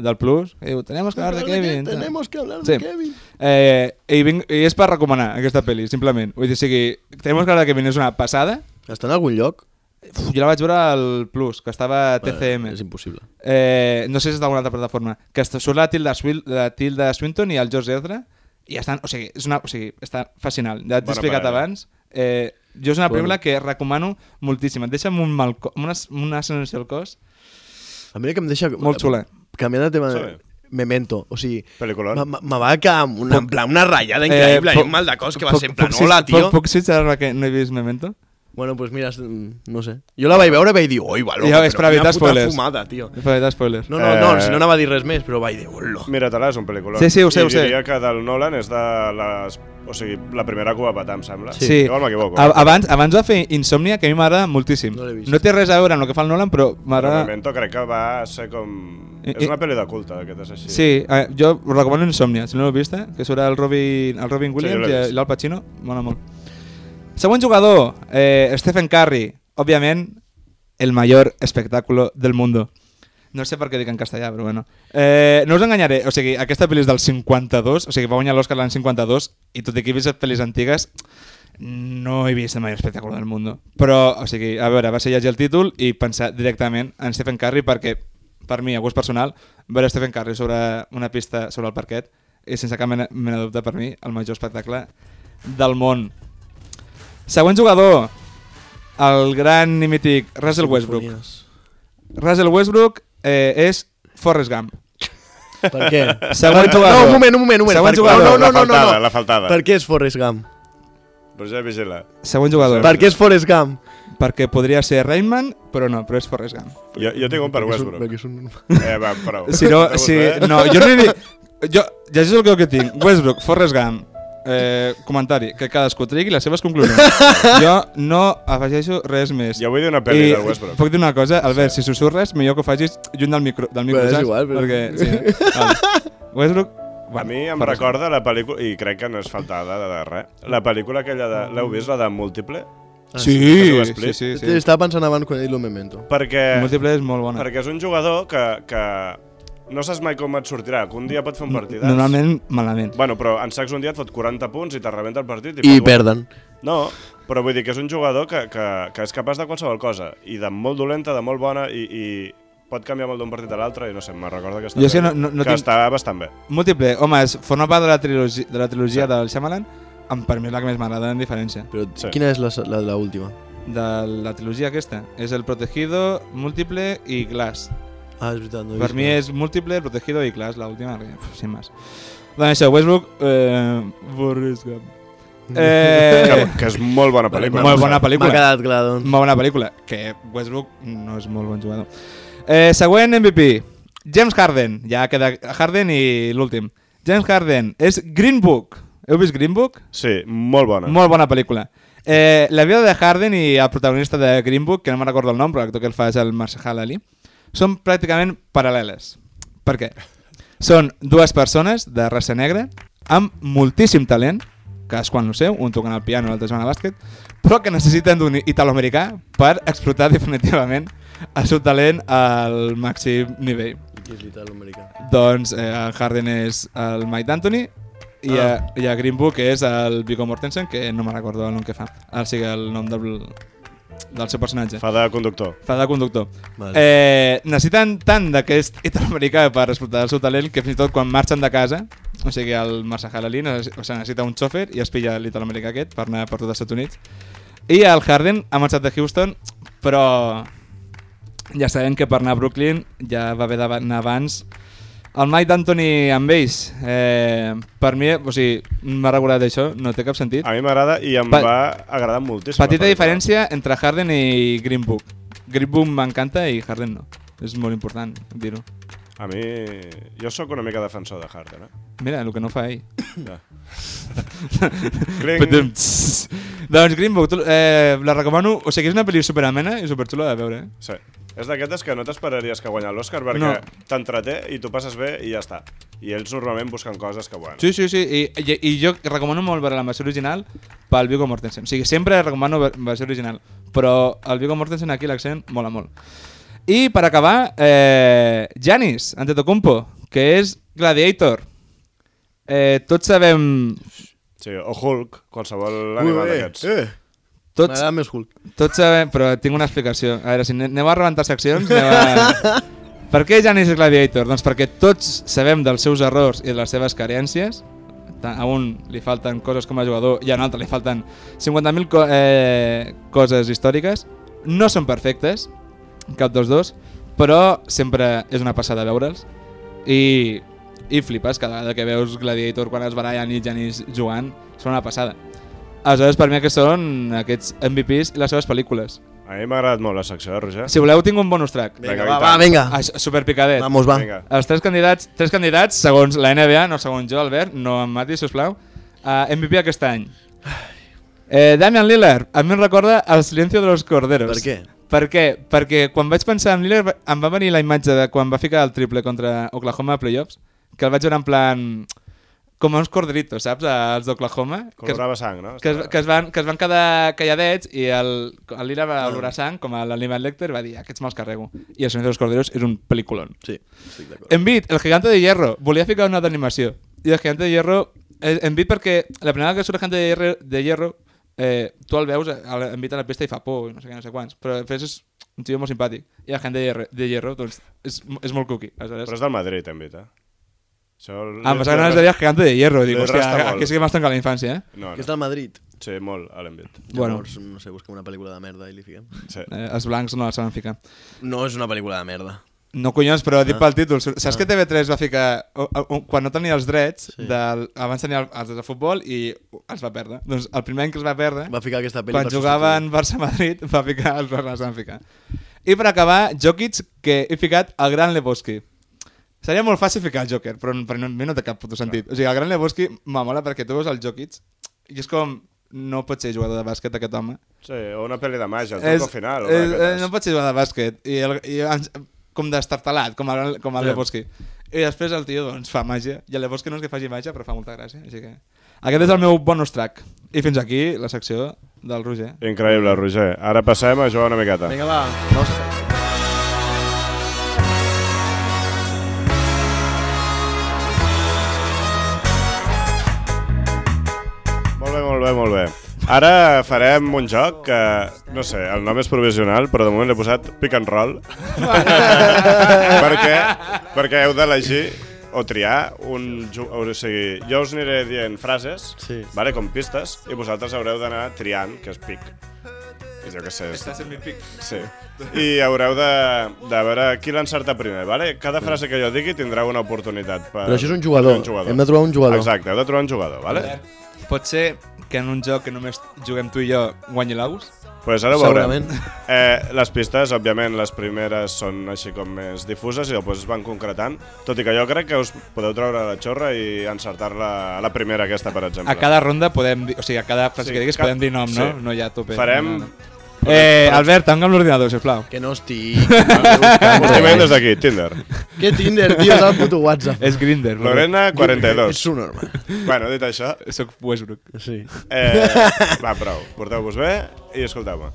Speaker 4: del Plus. Que diu, tenemos que hablar de Kevin. tal".
Speaker 3: Tenemos que hablar
Speaker 4: Sí.
Speaker 3: de Kevin.
Speaker 4: Eh, i, vinc, I és per recomanar aquesta pel·li, simplement. Vull dir, o sigui, tenemos que hablar de Kevin és una passada.
Speaker 3: Està en algun lloc?
Speaker 4: Uf, jo la vaig veure al Plus, que estava a TCM.
Speaker 3: És impossible.
Speaker 4: Eh, no sé si és d'alguna altra plataforma. Que està- surt la Tilda, Swil, la Tilda Swinton i el George Ezra. I estan, o sigui, és una, o sigui, està fascinant. Ja t'he
Speaker 2: Bona
Speaker 4: explicat
Speaker 2: parella.
Speaker 4: abans. Eh, jo és una
Speaker 3: Bueno.
Speaker 4: pel·lícula que recomano moltíssim. Et deixa amb, un mal, co- amb una, amb una sensació al cos
Speaker 3: A mi que em deixa...
Speaker 4: molt xula.
Speaker 3: Canviant de tema...
Speaker 2: Sí.
Speaker 3: Memento, o sigui...
Speaker 2: Peliculón.
Speaker 3: me- me- Me va quedar amb una, en plan, una ratllada
Speaker 4: Eh,
Speaker 3: increïble i
Speaker 4: puc-
Speaker 3: un mal de cos que va
Speaker 4: puc-
Speaker 3: ser en plan,
Speaker 4: puc-
Speaker 3: hola, tio.
Speaker 4: Puc, puc sincerar-me que no he vist Memento?
Speaker 3: Bueno, pues mira, no sé. Jo la vaig veure i vaig dir, oi, va, loco,
Speaker 4: Ja, és per
Speaker 3: però quina
Speaker 4: evitar
Speaker 3: puta
Speaker 4: spoilers.
Speaker 3: fumada, tio.
Speaker 4: He fet spoilers.
Speaker 3: No, no, no,
Speaker 2: Eh.
Speaker 3: si no anava a dir res més, però vaig dir, hola.
Speaker 2: Mira-te-la, és un pel·lícula.
Speaker 4: Sí, sí, ho sé,
Speaker 2: I
Speaker 4: ho sé.
Speaker 2: diria que del Nolan és de les... O sigui, la primera que ho va petar, em sembla.
Speaker 4: Sí.
Speaker 2: Igual m'equivoco.
Speaker 4: A- Abans, abans va fer Insomnia, que a mi m'agrada moltíssim.
Speaker 3: No l'he vist.
Speaker 4: no té res a veure amb el que fa el Nolan, però
Speaker 2: Però
Speaker 4: m'agrada...
Speaker 2: Memento crec que va ser com...
Speaker 4: I-
Speaker 2: és
Speaker 4: i-
Speaker 2: una pel·li de culte, aquest és així.
Speaker 4: Sí, eh, jo us recomano Insomnia, si no l'heu vista, que surt el Robin, el Robin Williams
Speaker 2: l'he vist.
Speaker 4: i l'Al Pacino, mola molt. Següent jugador, eh, Stephen Curry, òbviament el mayor espectáculo del mundo. No sé per què dic en castellà, però bueno. Eh, no us enganyaré, o sigui, aquesta pel·li és del 52, o sigui, va guanyar l'Oscar l'any 52, i tot i que he vist pel·lis antigues, no he vist el major espectacle del mundo. Però, o sigui, a veure, va ser llegir el títol i pensar directament en Stephen Curry perquè, per mi, a gust personal, veure Stephen Curry sobre una pista sobre el parquet és, sense cap mena, mena de dubte, per mi, el major espectacle del món. Següent jugador, el gran i mític Russell Westbrook. Russell Westbrook eh, és Forrest Gump.
Speaker 3: Per què?
Speaker 4: Següent
Speaker 3: No,
Speaker 4: jugador.
Speaker 3: un moment, un moment, un moment.
Speaker 4: Següent
Speaker 3: Per-
Speaker 4: jugador.
Speaker 3: No,
Speaker 2: La
Speaker 3: no, no, no,
Speaker 2: faltada,
Speaker 3: no.
Speaker 2: la faltada.
Speaker 3: Per què és Forrest Gump?
Speaker 2: Però ja vigila.
Speaker 4: Següent jugador.
Speaker 3: Per què és Forrest Gump?
Speaker 4: Perquè podria ser Rainman, però no, però és Forrest Gump.
Speaker 2: Jo, jo tinc un per
Speaker 3: Perquè és un-
Speaker 2: Westbrook.
Speaker 3: perquè és un-
Speaker 2: Eh, va, prou. eh?
Speaker 4: Si no,
Speaker 2: Vamos
Speaker 4: si,
Speaker 2: bé.
Speaker 4: no jo no he dit... Jo, llegeix el que, que tinc. Westbrook, Forrest Gump, eh, comentari, que cadascú trigui les seves conclusions. Jo no afegeixo res més.
Speaker 2: Jo vull dir una pel·li
Speaker 4: I
Speaker 2: del Westbrook.
Speaker 4: Puc dir una cosa? Albert, si susurres, millor que ho facis lluny del micro, del micro
Speaker 3: Bé, és
Speaker 4: saps?
Speaker 3: igual, però-
Speaker 4: Perquè, sí, eh? vale. Westbrook...
Speaker 2: A mi em
Speaker 4: Forrest Gump.
Speaker 2: recorda la pel·lícula, i crec que no és faltada de, de res, la pel·lícula aquella de... L'heu vist, la de Múltiple?
Speaker 4: Sí,
Speaker 2: que ho
Speaker 4: sí,
Speaker 2: expliqui.
Speaker 4: sí. sí.
Speaker 3: Estava pensant abans quan he dit lo memento.
Speaker 2: Perquè,
Speaker 4: Múltiple és molt bona.
Speaker 2: perquè és un jugador que, que no saps mai com et sortirà, que un dia pot fer un partidàs.
Speaker 4: Normalment, malament.
Speaker 2: Bueno, però en sacs un dia et fot 40 punts i te rebenta el partit. pot
Speaker 3: I
Speaker 2: guanyar.
Speaker 3: perden.
Speaker 2: No, però vull dir que és un jugador que, que, que és capaç de qualsevol cosa, i de molt dolenta, de molt bona, i, i pot canviar molt d'un partit a l'altre, i no sé, me recorda que està,
Speaker 4: Jo és que
Speaker 2: bé.
Speaker 4: no- no- no
Speaker 2: que
Speaker 4: tinc-
Speaker 2: està bastant bé.
Speaker 4: Múltiple, home, és, forma part de la trilogia, de la trilogia sí. del Shyamalan, amb, per mi és la que més m'agrada en diferència.
Speaker 3: Però
Speaker 2: Sí.
Speaker 3: quina és la, la, la última?
Speaker 4: De la trilogia aquesta. És el Protegido, Múltiple i Glass.
Speaker 3: Ah, és veritat, no he
Speaker 4: per
Speaker 3: vist
Speaker 4: mi
Speaker 3: res.
Speaker 4: és Múltiple, Protegido i Glass, l'última, que, pf, sin més. Doncs això, Westbrook, eh, Forrest Gump.
Speaker 2: Que,
Speaker 4: Eh,
Speaker 2: que és molt bona pel·lícula.
Speaker 4: molt bona
Speaker 3: M'ha
Speaker 4: pel·lícula.
Speaker 3: quedat clar, doncs.
Speaker 4: Molt bona pel·lícula, que Westbrook no és molt bon jugador. Eh, següent MVP, James Harden. Ja queda Harden i l'últim. James Harden és Green Book. Heu vist Green Book?
Speaker 2: Sí, molt bona.
Speaker 4: Molt bona pel·lícula. Eh, la vida de Harden i el protagonista de Green Book, que no me'n recordo el nom, però l'actor que el fa és el Marshall Ali, són pràcticament paral·leles. Per què? Són dues persones de raça negra amb moltíssim talent, cadascú en el seu, un tocant el piano i l'altre jugant a bàsquet, però que necessiten d'un italoamericà per explotar definitivament el seu talent al màxim nivell.
Speaker 3: Qui és l'italoamericà?
Speaker 4: Doncs eh, el Harden és el Mike D'Antoni i, ah.
Speaker 3: Ah.
Speaker 4: i el Green Book és el Viggo Mortensen, que no me'n recordo el nom que fa. O sigui, el nom del, del seu personatge.
Speaker 2: Fa de conductor.
Speaker 4: Fa de conductor.
Speaker 3: Vale.
Speaker 4: Eh, necessiten tant d'aquest italoamericà per explotar el seu talent que fins i tot quan marxen de casa, o sigui, el Marcel Ali necess- o sigui, necessita un xòfer i es pilla l'italoamericà aquest per anar per tot els Estats Units. I el Harden ha marxat de Houston, però ja sabem que per anar a Brooklyn ja va haver d'anar abans el Mike D'Antoni amb ells, eh, per mi, o sigui, m'ha regulat això, no té cap sentit.
Speaker 2: A mi m'agrada i em
Speaker 4: Pa-
Speaker 2: va agradar moltíssim. la
Speaker 4: Petita
Speaker 2: pel·lícula.
Speaker 4: diferència entre Harden i Green Book. Green Book m'encanta i Harden no. És molt important dir-ho.
Speaker 2: A mi... Jo sóc una mica defensor de Harden, eh?
Speaker 4: Mira, el que no fa ell.
Speaker 2: Ja. Cling.
Speaker 4: Patum, em, tss. doncs Green Book, tu- eh, la recomano. O sigui, és una pel·li superamena i superxula de veure. Eh?
Speaker 2: Sí. És d'aquestes que no t'esperaries que guanyar l'Oscar perquè
Speaker 4: No.
Speaker 2: t'entreté i tu passes bé i ja està. I ells normalment busquen coses que, bueno...
Speaker 4: Sí, sí, sí. I, i, i jo recomano molt veure la versió original pel Viggo Mortensen. O sigui, sempre recomano ver- versió original. Però el Viggo Mortensen aquí l'accent mola molt. I per acabar, eh, Janis Antetokounmpo, que és Gladiator. Eh, tots sabem
Speaker 2: Sí, o Hulk, qualsevol animal d'aquests.
Speaker 3: Eh,
Speaker 4: Tots,
Speaker 3: M'agrada més Hulk.
Speaker 4: tots sabem, però tinc una explicació. A veure, si ne- aneu a rebentar seccions, aneu a... per què Janis és Gladiator? Doncs perquè tots sabem dels seus errors i de les seves carències. Ta- A un li falten coses com a jugador i a un altre li falten 50.000 co eh, coses històriques. No són perfectes, cap dels dos, però sempre és una passada veure'ls. I, i flipes cada vegada que veus Gladiator quan es barallen i Janis jugant. Són una passada. Aleshores, per mi aquests són aquests MVPs i les seves pel·lícules.
Speaker 2: A mi m'ha agradat molt la secció, eh, Roger?
Speaker 4: Si voleu, tinc un bonus track.
Speaker 2: Vinga,
Speaker 3: Vinga, va,
Speaker 2: i
Speaker 3: va,
Speaker 2: tant.
Speaker 3: vinga.
Speaker 4: Ah, Superpicadet.
Speaker 3: Vamos, va.
Speaker 2: Vinga.
Speaker 4: Els tres candidats, tres candidats, segons la NBA, no segons jo, Albert, no em matis, sisplau, a MVP aquest any. Eh, Damian Lillard, a mi em recorda El silencio de los corderos.
Speaker 3: Per què?
Speaker 4: Per què? Perquè quan vaig pensar en Lillard em va venir la imatge de quan va ficar el triple contra Oklahoma a playoffs, que el vaig veure en plan com uns corderitos, saps? Els d'Oklahoma. que es-
Speaker 2: Colorava sang, no?
Speaker 4: que es, que, es van, que es van quedar calladets i el, el Lila va olorar sang, com l'animal Lecter, va dir aquests me'ls carrego. I El senyor dels corderos és un pel·liculon.
Speaker 3: Sí, estic d'acord.
Speaker 4: Envid, el gigante de hierro, volia ficar una d'animació. I el gigante de hierro... eh, Envid perquè la primera vegada que surt el gigante de hierro, de hierro eh, tu el veus, el- Envid a la pista i fa por, i no sé què, no sé quants. Però després és un tio molt simpàtic. I el gigante de hierro, de hierro doncs, és, és molt cuqui.
Speaker 2: Però
Speaker 4: Aleshores...
Speaker 2: és del Madrid, també, eh? Això el-
Speaker 4: Ah, em pensava que anaves a dir el gigante de hierro. Dic,
Speaker 2: Li resta
Speaker 4: hòstia,
Speaker 2: molt.
Speaker 4: aquí sí que m'has tancat la infància, eh?
Speaker 2: No,
Speaker 3: Que és
Speaker 2: no.
Speaker 3: del Madrid.
Speaker 2: Sí, molt, a l'Embit.
Speaker 4: Bueno.
Speaker 3: Llavors, no sé, busquem una pel·lícula de merda i li fiquem.
Speaker 2: Sí.
Speaker 4: eh? Els blancs no la saben ficar.
Speaker 3: No és una pel·lícula de merda.
Speaker 4: No, collons, però dic pel títol. Saps que TV3 va ficar... o- o- Quan no tenia els drets, sí. del, abans tenia el- els drets de futbol i els va perdre. Doncs el primer any que els va perdre,
Speaker 3: Va ficar aquesta pel·li
Speaker 4: quan
Speaker 3: per
Speaker 4: jugaven Barça-Madrid, va ficar els Barça els van ficar. I per acabar, Jokic, que he ficat el Gran Lebowski. Seria molt fàcil ficar el Joker, però, però no, a mi no té cap puto sentit. O sigui, el Gran Lebowski me mola perquè tu veus el Jokic i és com... No pot ser jugador de bàsquet aquest home.
Speaker 2: sí, o una pel·li de màgia, el
Speaker 4: És-
Speaker 2: truco final. o
Speaker 4: és,
Speaker 2: una d'aquestes.
Speaker 4: eh, no pot ser jugar de bàsquet. I el, i ens, com destartalat, com el, com el
Speaker 3: Ja.
Speaker 4: Lebowski. I després el tio doncs, fa màgia. I el Lebowski no és que faci màgia, però fa molta gràcia. Així que... Aquest és el meu bonus track. I fins aquí la secció del Roger.
Speaker 2: Increïble, Roger. Ara passem a jugar una miqueta.
Speaker 3: Vinga, va. Vamos a...
Speaker 2: Molt bé, molt bé, molt bé. Ara farem un joc que, no sé, el nom és provisional, però de moment l'he posat pick and roll. perquè, perquè heu d'elegir o triar un... ju- O sigui, jo us aniré dient frases,
Speaker 3: Sí.
Speaker 2: vale, com pistes, i vosaltres haureu d'anar triant, que és pick. I jo què sé, és,
Speaker 4: sent mi pic.
Speaker 2: Sí. I haureu de, de veure qui l'encerta primer, vale? Cada frase que jo digui tindrà una oportunitat. Per,
Speaker 3: Però això és un jugador.
Speaker 2: un jugador.
Speaker 3: Hem de trobar un jugador.
Speaker 2: Exacte, heu de trobar un jugador, vale?
Speaker 4: Pot ser que en un joc que només juguem tu i jo guanyi l'Aus?
Speaker 2: Pues ara ho veurem.
Speaker 3: Segurament.
Speaker 2: Eh, les pistes, òbviament, les primeres són així com més difuses i després es van concretant, tot i que jo crec que us podeu treure la xorra i encertar-la a la primera aquesta, per exemple.
Speaker 4: A cada ronda podem dir... O sigui, a cada frase
Speaker 2: Sí,
Speaker 4: sí, que diguis
Speaker 2: ca-
Speaker 4: podem dir nom,
Speaker 2: sí.
Speaker 4: no? No hi ha tope.
Speaker 2: Farem
Speaker 4: No, no. Eh, Albert, tanca'm l'ordinador, sisplau.
Speaker 3: Que no estic... Déu,
Speaker 2: Us estimem des d'aquí, Tinder.
Speaker 3: Què Tinder, tio, és el puto WhatsApp.
Speaker 4: És Grinder.
Speaker 2: Lorena,
Speaker 3: És
Speaker 2: 42.
Speaker 3: un normal.
Speaker 2: Bueno, dit això,
Speaker 4: Soc Westbrook.
Speaker 3: Sí.
Speaker 2: eh, va, prou. Porteu-vos bé i escolteu-me.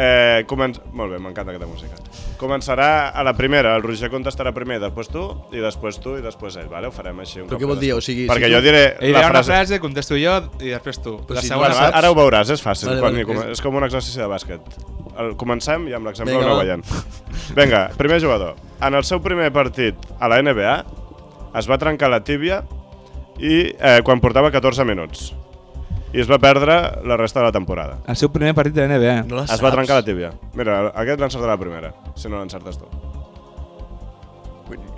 Speaker 2: Eh, comen... Molt bé, m'encanta aquesta música. Començarà a la primera, el Roger contestarà primer, després tu, i després tu, i després ell, vale? Ho farem així un
Speaker 3: Però
Speaker 2: cop
Speaker 3: què vol
Speaker 2: cadascú.
Speaker 3: dir? O sigui,
Speaker 2: Perquè
Speaker 3: si
Speaker 2: jo
Speaker 3: tu-
Speaker 2: diré
Speaker 4: Ell
Speaker 2: la
Speaker 4: dirà una
Speaker 2: frase...
Speaker 4: frase, contesto jo i després tu.
Speaker 3: Però
Speaker 4: la
Speaker 3: si
Speaker 4: segona
Speaker 2: Bueno,
Speaker 3: saps?
Speaker 2: ara, ara ho veuràs, és fàcil.
Speaker 3: Vale,
Speaker 2: Vale, quan
Speaker 3: vale,
Speaker 2: hi come...
Speaker 3: és-
Speaker 2: És com un exercici de bàsquet. El comencem i amb l'exemple
Speaker 3: Vinga,
Speaker 2: ho aneu
Speaker 3: va.
Speaker 2: veient. Vinga, primer jugador. En el seu primer partit a la NBA es va trencar la tíbia i eh, quan portava 14 minuts. I es va perdre la resta de la temporada.
Speaker 4: El seu primer partit de NBA.
Speaker 3: No la
Speaker 2: Es va trencar la tíbia. Mira, aquest l'encertarà la primera, si no l'encertes tu.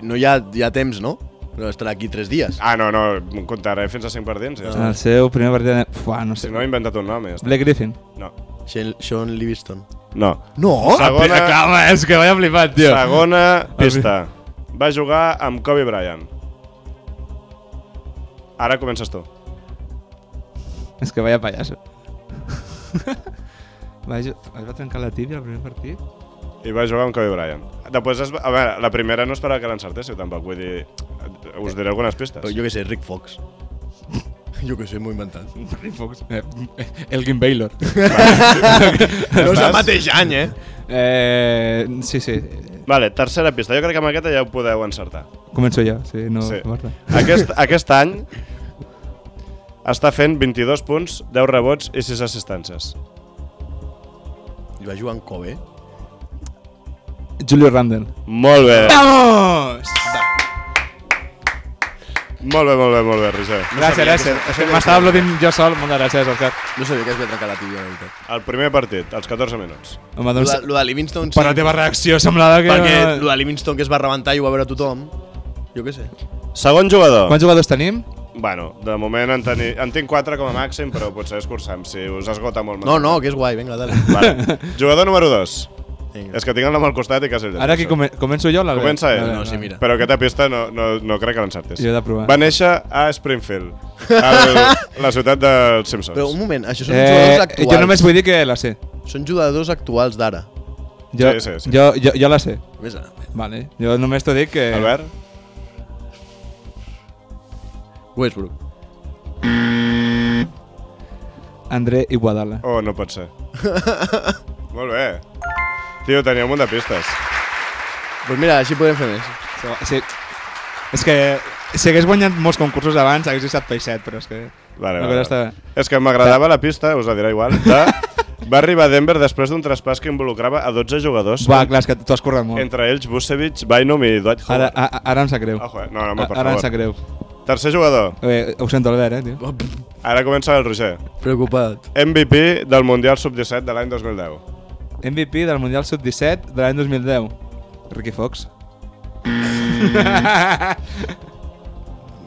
Speaker 3: No hi ha, hi ha temps, no? No estarà aquí tres dies.
Speaker 2: Ah, no, no, comptaré eh, fins a 5 partits. Ja està.
Speaker 4: El seu primer partit de NBA. Fuà, no
Speaker 2: Si
Speaker 4: sé.
Speaker 2: no, he inventat un nom i ja està.
Speaker 4: Blake Griffin.
Speaker 2: No.
Speaker 3: Sean, Sean Livingston.
Speaker 2: No.
Speaker 3: No?
Speaker 2: Segona-
Speaker 4: Ah, clar, home, és que vaya flipat, tio.
Speaker 2: Segona pista. Va jugar amb Kobe Bryant. Ara comences tu.
Speaker 4: És que vaya pallasso. va, jo, es va trencar la tibia al primer partit?
Speaker 2: I va jugar amb Kobe Bryant. Després, es va... a veure, la primera no esperava que l'encertéssiu, tampoc. Vull dir, us diré algunes pistes.
Speaker 3: Però jo què sé, Rick Fox. jo què sé, m'ho he inventat.
Speaker 4: Rick Fox. Eh, Elgin Baylor.
Speaker 3: No és
Speaker 2: Estàs-
Speaker 3: el mateix any, eh?
Speaker 4: eh, sí, sí.
Speaker 2: Vale, tercera pista. Jo crec que amb aquesta ja ho podeu encertar.
Speaker 4: Començo jo. Sí, no,
Speaker 2: Sí.
Speaker 4: Marta.
Speaker 2: Aquest, aquest any està fent 22 punts, 10 rebots i 6 assistències.
Speaker 3: I va jugar en Kobe.
Speaker 4: Julio Randle.
Speaker 2: Molt bé.
Speaker 4: Vamos!
Speaker 2: Molt bé, molt bé, molt bé, Roger.
Speaker 4: Gràcies, gràcies. M'estava aplaudint jo sol. Moltes gràcies, Òscar.
Speaker 3: No sabia que es va trencar la tibia, la veritat.
Speaker 2: El primer partit, als 14 minuts.
Speaker 4: Home,
Speaker 3: Lo
Speaker 4: doncs...
Speaker 3: de, lo de Livingston, sí.
Speaker 4: Per la teva reacció semblava que...
Speaker 3: perquè lo de Livingston que es va rebentar i ho va veure tothom. Jo què sé.
Speaker 2: Segon jugador.
Speaker 4: Quants jugadors tenim?
Speaker 2: Bueno, de moment en, teni... en tinc 4 com a màxim, però potser escurçam, si us esgota molt.
Speaker 3: No, no, que és guai, vinga, dale.
Speaker 2: Vale. Jugador número 2.
Speaker 3: Vinga.
Speaker 2: És que tinc el nom al costat i quasi el
Speaker 4: Ara aquí come començo jo o l'Albert?
Speaker 2: Comença ell.
Speaker 4: Vale,
Speaker 3: No, sí,
Speaker 4: vale.
Speaker 3: mira.
Speaker 2: Però aquesta pista no, no, no crec que l'encertis.
Speaker 4: Jo he de provar.
Speaker 2: Va néixer a Springfield, a la ciutat dels Simpsons.
Speaker 3: Però un moment, això són
Speaker 4: Eh,
Speaker 3: jugadors actuals.
Speaker 4: jo només vull dir que la sé.
Speaker 3: Són jugadors actuals d'ara.
Speaker 4: Jo,
Speaker 2: Sí, sí, sí.
Speaker 4: Jo, jo, jo la sé.
Speaker 3: Més ara.
Speaker 4: Vale. Jo només t'ho dic que...
Speaker 2: Albert?
Speaker 3: Westbrook.
Speaker 4: André Iguadala.
Speaker 2: Oh, no pot ser. Molt bé. Tio, tenia un munt de pistes.
Speaker 3: Pues mira, així podem fer més.
Speaker 4: So, sí. És que si hagués guanyat molts concursos abans hagués estat peixet, però és que...
Speaker 2: Vale,
Speaker 4: la
Speaker 2: vale,
Speaker 4: cosa
Speaker 2: vale.
Speaker 4: Està...
Speaker 2: És que m'agradava la pista, us la diré igual, de... Va arribar a Denver després d'un traspàs que involucrava a 12 jugadors.
Speaker 4: Va, clar, és que t'ho has currat molt.
Speaker 2: Entre ells, Vucevic, Bynum i Dwight
Speaker 4: Ara,
Speaker 2: Howard.
Speaker 4: a, a- ara em sap greu.
Speaker 2: Ojo, eh. No, no, home,
Speaker 4: A-
Speaker 2: per
Speaker 4: ara em
Speaker 2: favor.
Speaker 4: sap greu.
Speaker 2: Tercer jugador.
Speaker 4: Eh, ho sento, Albert, eh, tio.
Speaker 2: Ara comença el Roger.
Speaker 3: Preocupat.
Speaker 2: MVP del Mundial Sub-17 de l'any 2010.
Speaker 4: MVP del Mundial Sub-17 de l'any 2010. Ricky Fox.
Speaker 2: Mm.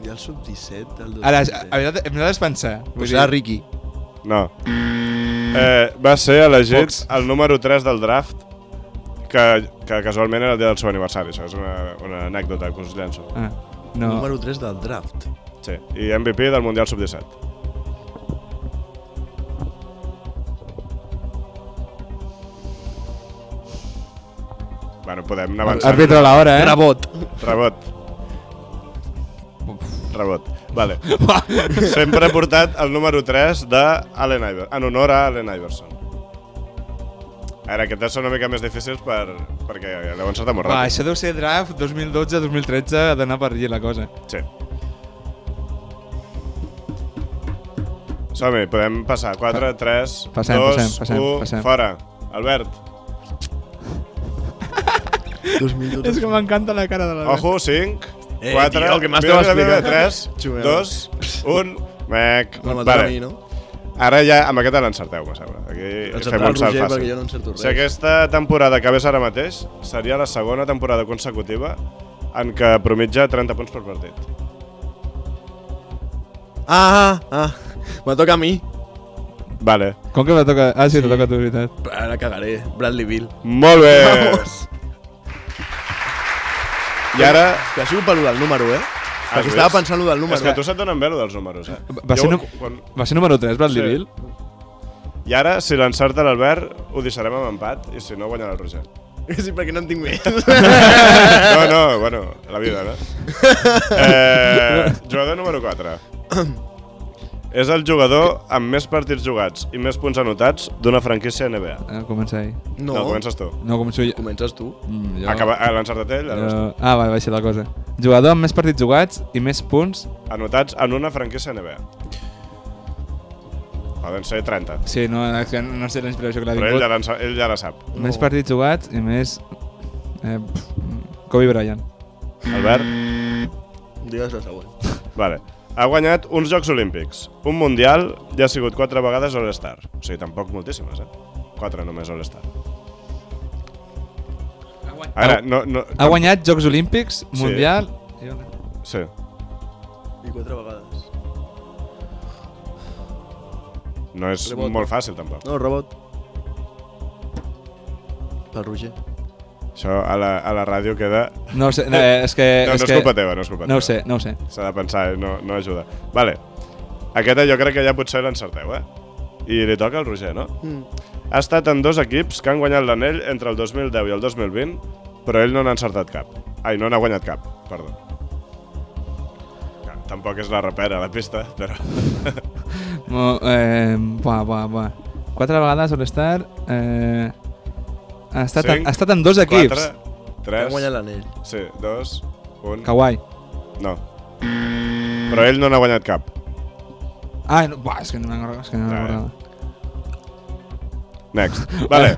Speaker 3: I el sub-17 del
Speaker 4: Ara, a, a veritat, em vas pensar.
Speaker 3: Pues serà Ricky.
Speaker 2: No. Eh, va ser elegit
Speaker 4: Fox.
Speaker 2: el número 3 del draft, que, que casualment era el dia del seu aniversari. Això és una, una anècdota que us llenço.
Speaker 4: Ah, no.
Speaker 3: Número 3 del draft.
Speaker 2: Sí. I MVP del Mundial Sub-17. Bueno, podem anar avançant.
Speaker 4: Àrbitre a la hora, eh?
Speaker 3: Rebot.
Speaker 2: Rebot. Rebot. Vale. Sempre he portat el número 3 de Allen Iverson, en honor a Allen Iverson. Ara, aquestes són una mica més difícils per, perquè l'heu encertat molt
Speaker 4: Va,
Speaker 2: ràpid.
Speaker 4: això deu ser draft 2012-2013, ha d'anar per allí la cosa.
Speaker 2: Sí. Som-hi, podem passar. 4, 3,
Speaker 4: Passem,
Speaker 2: 2,
Speaker 4: passem, passem,
Speaker 2: 1,
Speaker 4: passem.
Speaker 2: fora. Albert,
Speaker 3: 2012.
Speaker 4: És que m'encanta la cara de la
Speaker 2: ojo, 5,
Speaker 3: Eh,
Speaker 2: 4,
Speaker 3: tio, que m'has de explicar.
Speaker 2: 3,
Speaker 3: Xumeu.
Speaker 2: 2, 1, mec.
Speaker 3: Me
Speaker 2: Vale.
Speaker 3: matarà a mi, no?
Speaker 2: Ara ja amb aquesta l'encerteu, me sembla. Aquí
Speaker 3: Encertarà
Speaker 2: fem
Speaker 3: el
Speaker 2: un salt
Speaker 3: Roger,
Speaker 2: fàcil.
Speaker 3: perquè jo no encerto res.
Speaker 2: Si aquesta temporada acabés ara mateix, seria la segona temporada consecutiva en què promitja 30 punts per partit.
Speaker 3: Ah, ah, ah. Me toca a mi.
Speaker 2: Vale.
Speaker 4: Com que me toca... Ah, sí, sí. te toca a tu, veritat.
Speaker 3: Ara cagaré. Bradley Bill.
Speaker 2: Molt bé!
Speaker 3: Vamos.
Speaker 2: I ara...
Speaker 3: Que ha sigut per lo del número, eh? Perquè
Speaker 2: vist?
Speaker 3: estava pensant lo del número.
Speaker 2: És que a tu se't donen bé, lo dels números, eh?
Speaker 4: Va, ser,
Speaker 2: Jo,
Speaker 4: nu
Speaker 2: quan,
Speaker 4: va ser número 3,
Speaker 2: Sí.
Speaker 4: Bradley sí. Bill?
Speaker 2: I ara, si l'encerta l'Albert, ho deixarem amb empat i si no, guanyarà el Roger.
Speaker 3: Sí, perquè no en tinc més.
Speaker 2: No, no, bueno, la vida, no? Eh, jugador número 4. És el jugador amb més partits jugats i més punts anotats d'una franquícia NBA.
Speaker 4: Eh, comença ahir.
Speaker 3: No,
Speaker 2: no comences tu.
Speaker 4: No, començo jo.
Speaker 3: comences tu.
Speaker 4: Mm, jo-
Speaker 2: Acaba, eh, l'encertat ell,
Speaker 4: jo...
Speaker 2: llavors tu.
Speaker 4: Ah, va, va ser la cosa. Jugador amb més partits jugats i més punts...
Speaker 2: anotats en una franquícia NBA. Poden ser 30.
Speaker 4: Sí, no, és que no sé la inspiració que l'ha
Speaker 2: Però ell ja,
Speaker 4: vingut.
Speaker 2: l'ença- ell ja la sap.
Speaker 4: Més partits jugats i més... Eh, pff, Kobe Bryant.
Speaker 2: Albert?
Speaker 3: Digues la següent.
Speaker 2: Vale. Ha guanyat uns Jocs Olímpics, un Mundial i ha sigut 4 vegades All-Star. O sigui, tampoc moltíssimes, eh? 4 només All-Star. Ara, no... no
Speaker 4: Ha guanyat Jocs Olímpics,
Speaker 2: Sí.
Speaker 4: Mundial...
Speaker 2: Sí.
Speaker 3: I quatre vegades.
Speaker 2: No és
Speaker 3: Rebota.
Speaker 2: molt fàcil, tampoc.
Speaker 3: No, rebot. Pel Roger.
Speaker 2: Això a la, a la ràdio queda...
Speaker 4: No ho sé, no, eh, és que...
Speaker 2: No, no és
Speaker 4: que...
Speaker 2: culpa teva, no és culpa
Speaker 4: No ho
Speaker 2: teva.
Speaker 4: sé, no ho sé.
Speaker 2: S'ha de pensar, eh? no, no ajuda. Vale. Aquesta jo crec que ja potser l'encerteu, eh? I li toca al Roger, no?
Speaker 3: Mm.
Speaker 2: Ha estat en dos equips que han guanyat l'anell entre el 2010 i el 2020, però ell no n'ha encertat cap. Ai, no n'ha guanyat cap, perdó. Clar, Tampoc és la repera, la pista, però...
Speaker 4: No, eh, buah, buah, buah. Quatre vegades All-Star... Eh, ha, estat,
Speaker 2: Cinc,
Speaker 4: ha estat en dos equips.
Speaker 2: 4,
Speaker 3: Ha
Speaker 2: 3,
Speaker 3: guanyat l'anell.
Speaker 2: sí, 2, 1...
Speaker 4: Kawhi.
Speaker 2: No. Però ell no n'ha guanyat cap.
Speaker 4: Ah, no, buah, és que no m'acordava. És que no
Speaker 2: Ah,
Speaker 4: m'acordava.
Speaker 2: Next. Vale.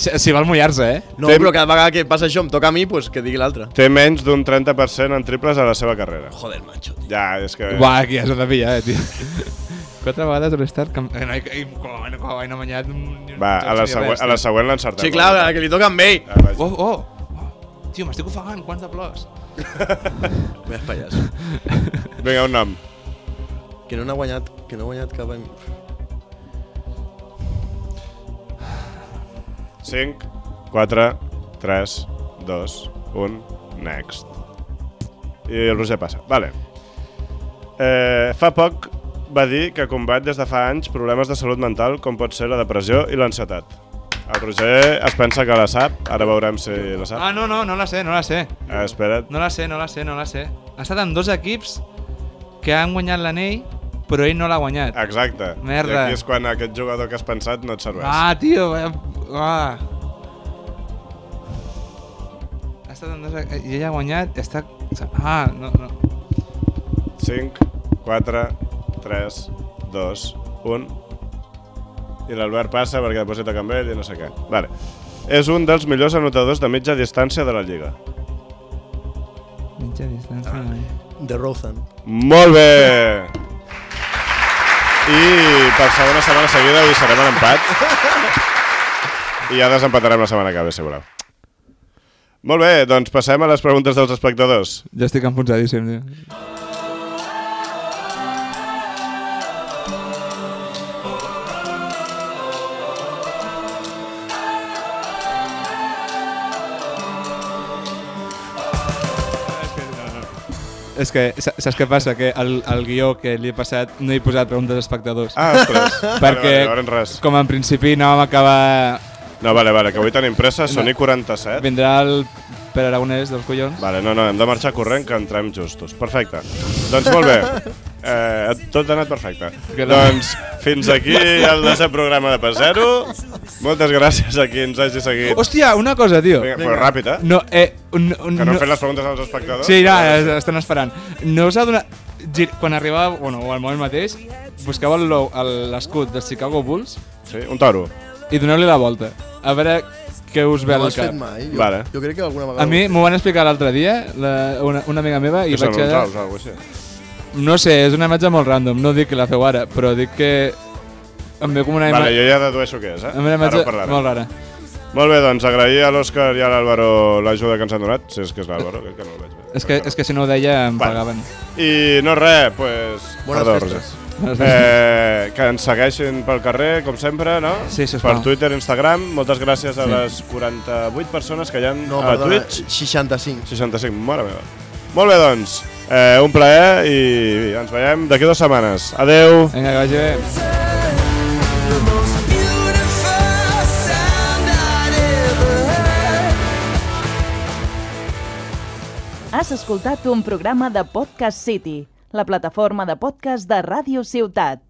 Speaker 4: Si, si val mullar-se, eh?
Speaker 3: No,
Speaker 2: Tem-
Speaker 3: però cada vegada que passa això em toca a mi, pues que digui l'altre.
Speaker 2: Té menys d'un 30% en triples a la seva carrera.
Speaker 3: Joder, macho.
Speaker 2: Ja, és que...
Speaker 4: Buah, aquí ja s'ha de pillar, eh, tio. Quatre vegades All-Star... Cam... Eh, no, i, i, Kawhi, no, Kawhi no ha guanyat... ni un
Speaker 2: Va,
Speaker 4: joc
Speaker 2: a la
Speaker 4: ni
Speaker 2: següent,
Speaker 4: res,
Speaker 2: a la
Speaker 4: tio.
Speaker 2: següent l'encertem.
Speaker 3: Sí, clar, que li toca a ell.
Speaker 2: Ah, vaja.
Speaker 4: Oh, oh, oh. Tio, m'estic ofegant, quants de plors.
Speaker 3: Més pallàs.
Speaker 2: Vinga, un nom.
Speaker 3: Que no n'ha guanyat, que no ha guanyat cap... em-
Speaker 2: 5, 4, 3, 2, 1, next. I el Roger passa. Vale. Eh, fa poc va dir que combat des de fa anys problemes de salut mental com pot ser la depressió i l'ansietat. El Roger es pensa que la sap, ara veurem si la sap.
Speaker 4: Ah, no, no, no la sé, no la sé.
Speaker 2: Eh, espera't.
Speaker 4: No la sé, no la sé, no la sé. Ha estat en dos equips que han guanyat l'anell, però ell no l'ha guanyat.
Speaker 2: Exacte.
Speaker 4: Merda.
Speaker 2: I aquí és quan aquest jugador Ah, que has pensat no et serveix.
Speaker 4: Ah, tio, eh, ah. Ha estat en dos equips, i ell ha guanyat, està... Ah, no, no.
Speaker 2: 5, 4, 3, 2, 1... I l'Albert passa perquè després hi toca amb ell i no sé què. Vale. És un dels millors anotadors de mitja distància de la Lliga.
Speaker 4: Mitja distància. Ah.
Speaker 3: De Rozan.
Speaker 2: Molt bé! I per segona setmana seguida avui serem en empat. I ja desempatarem la setmana que ve, si voleu. Molt bé, doncs passem a les preguntes dels espectadors.
Speaker 4: Ja estic enfonsadíssim, tio. És que sa- saps què passa? Que el, el guió que li he passat no he posat preguntes als espectadors.
Speaker 2: Ah, ostres.
Speaker 4: perquè
Speaker 2: Vale, vale, llavors res.
Speaker 4: com en principi no vam acabar...
Speaker 2: No, vale, vale, que avui tenim pressa, són i 47.
Speaker 4: Vindrà el Pere Aragonès dels collons.
Speaker 2: Vale, no, no, hem de marxar corrent que entrem justos. Perfecte. Doncs molt bé. Eh, tot ha anat perfecte.
Speaker 4: Que no.
Speaker 2: Doncs fins aquí el desè programa de P0. Moltes gràcies a qui ens hagi seguit.
Speaker 4: Hòstia, una cosa, tio.
Speaker 2: Vinga, però ràpid, eh?
Speaker 4: No, eh... Un, un,
Speaker 2: Que no, hem fet les preguntes als espectadors.
Speaker 4: Sí, no, es- estan esperant. No us ha donat... Gir, quan arribava, bueno, o al moment mateix, buscava el lo- el- l'escut dels Chicago Bulls
Speaker 2: sí un toro.
Speaker 4: i doneu-li la volta. A veure què us ve
Speaker 3: no ho
Speaker 4: al
Speaker 3: has fet
Speaker 4: cap.
Speaker 3: mai? Jo,
Speaker 2: Vale.
Speaker 3: jo crec que alguna vegada...
Speaker 4: A mi
Speaker 3: ho-
Speaker 4: m'ho van explicar l'altre dia, la, una, una amiga meva,
Speaker 2: I
Speaker 4: i vaig
Speaker 2: són uns
Speaker 4: quedar...
Speaker 2: ous, alguna cosa així.
Speaker 4: No sé, és una imatge molt random, no dic que la feu ara, però dic que em ve com una, ima
Speaker 2: Vale, jo ja dedueixo què és, eh?
Speaker 4: em ve una
Speaker 2: Ara
Speaker 4: imatge
Speaker 2: ho parlarem.
Speaker 4: molt rara.
Speaker 2: Molt bé, doncs agrair a l'Òscar i a l'Àlvaro l'ajuda que ens han donat, si és que és l'Àlvaro, que, que no el veig bé.
Speaker 4: És que, és que si no ho deia em
Speaker 2: Vale.
Speaker 4: pagaven.
Speaker 2: I no res, pues...
Speaker 3: Bones
Speaker 2: perdó,
Speaker 3: festes.
Speaker 2: Roger.
Speaker 4: Doncs,
Speaker 2: Eh, que ens segueixin pel carrer, com sempre, no?
Speaker 4: Sí, sisplau.
Speaker 2: Per Twitter, Instagram. Moltes gràcies a
Speaker 4: Sí.
Speaker 2: les 48 persones que hi ha
Speaker 3: No,
Speaker 2: a
Speaker 3: perdona, eh.
Speaker 2: Twitch.
Speaker 3: 65.
Speaker 2: 65, mare meva. Molt bé, doncs. Eh, un plaer i ens veiem d'aquí dues setmanes. Adeu.
Speaker 4: Vinga, que vagi bé.
Speaker 6: The most beautiful
Speaker 1: Has escoltat un programa de Podcast City, la plataforma de podcast de Ràdio Ciutat.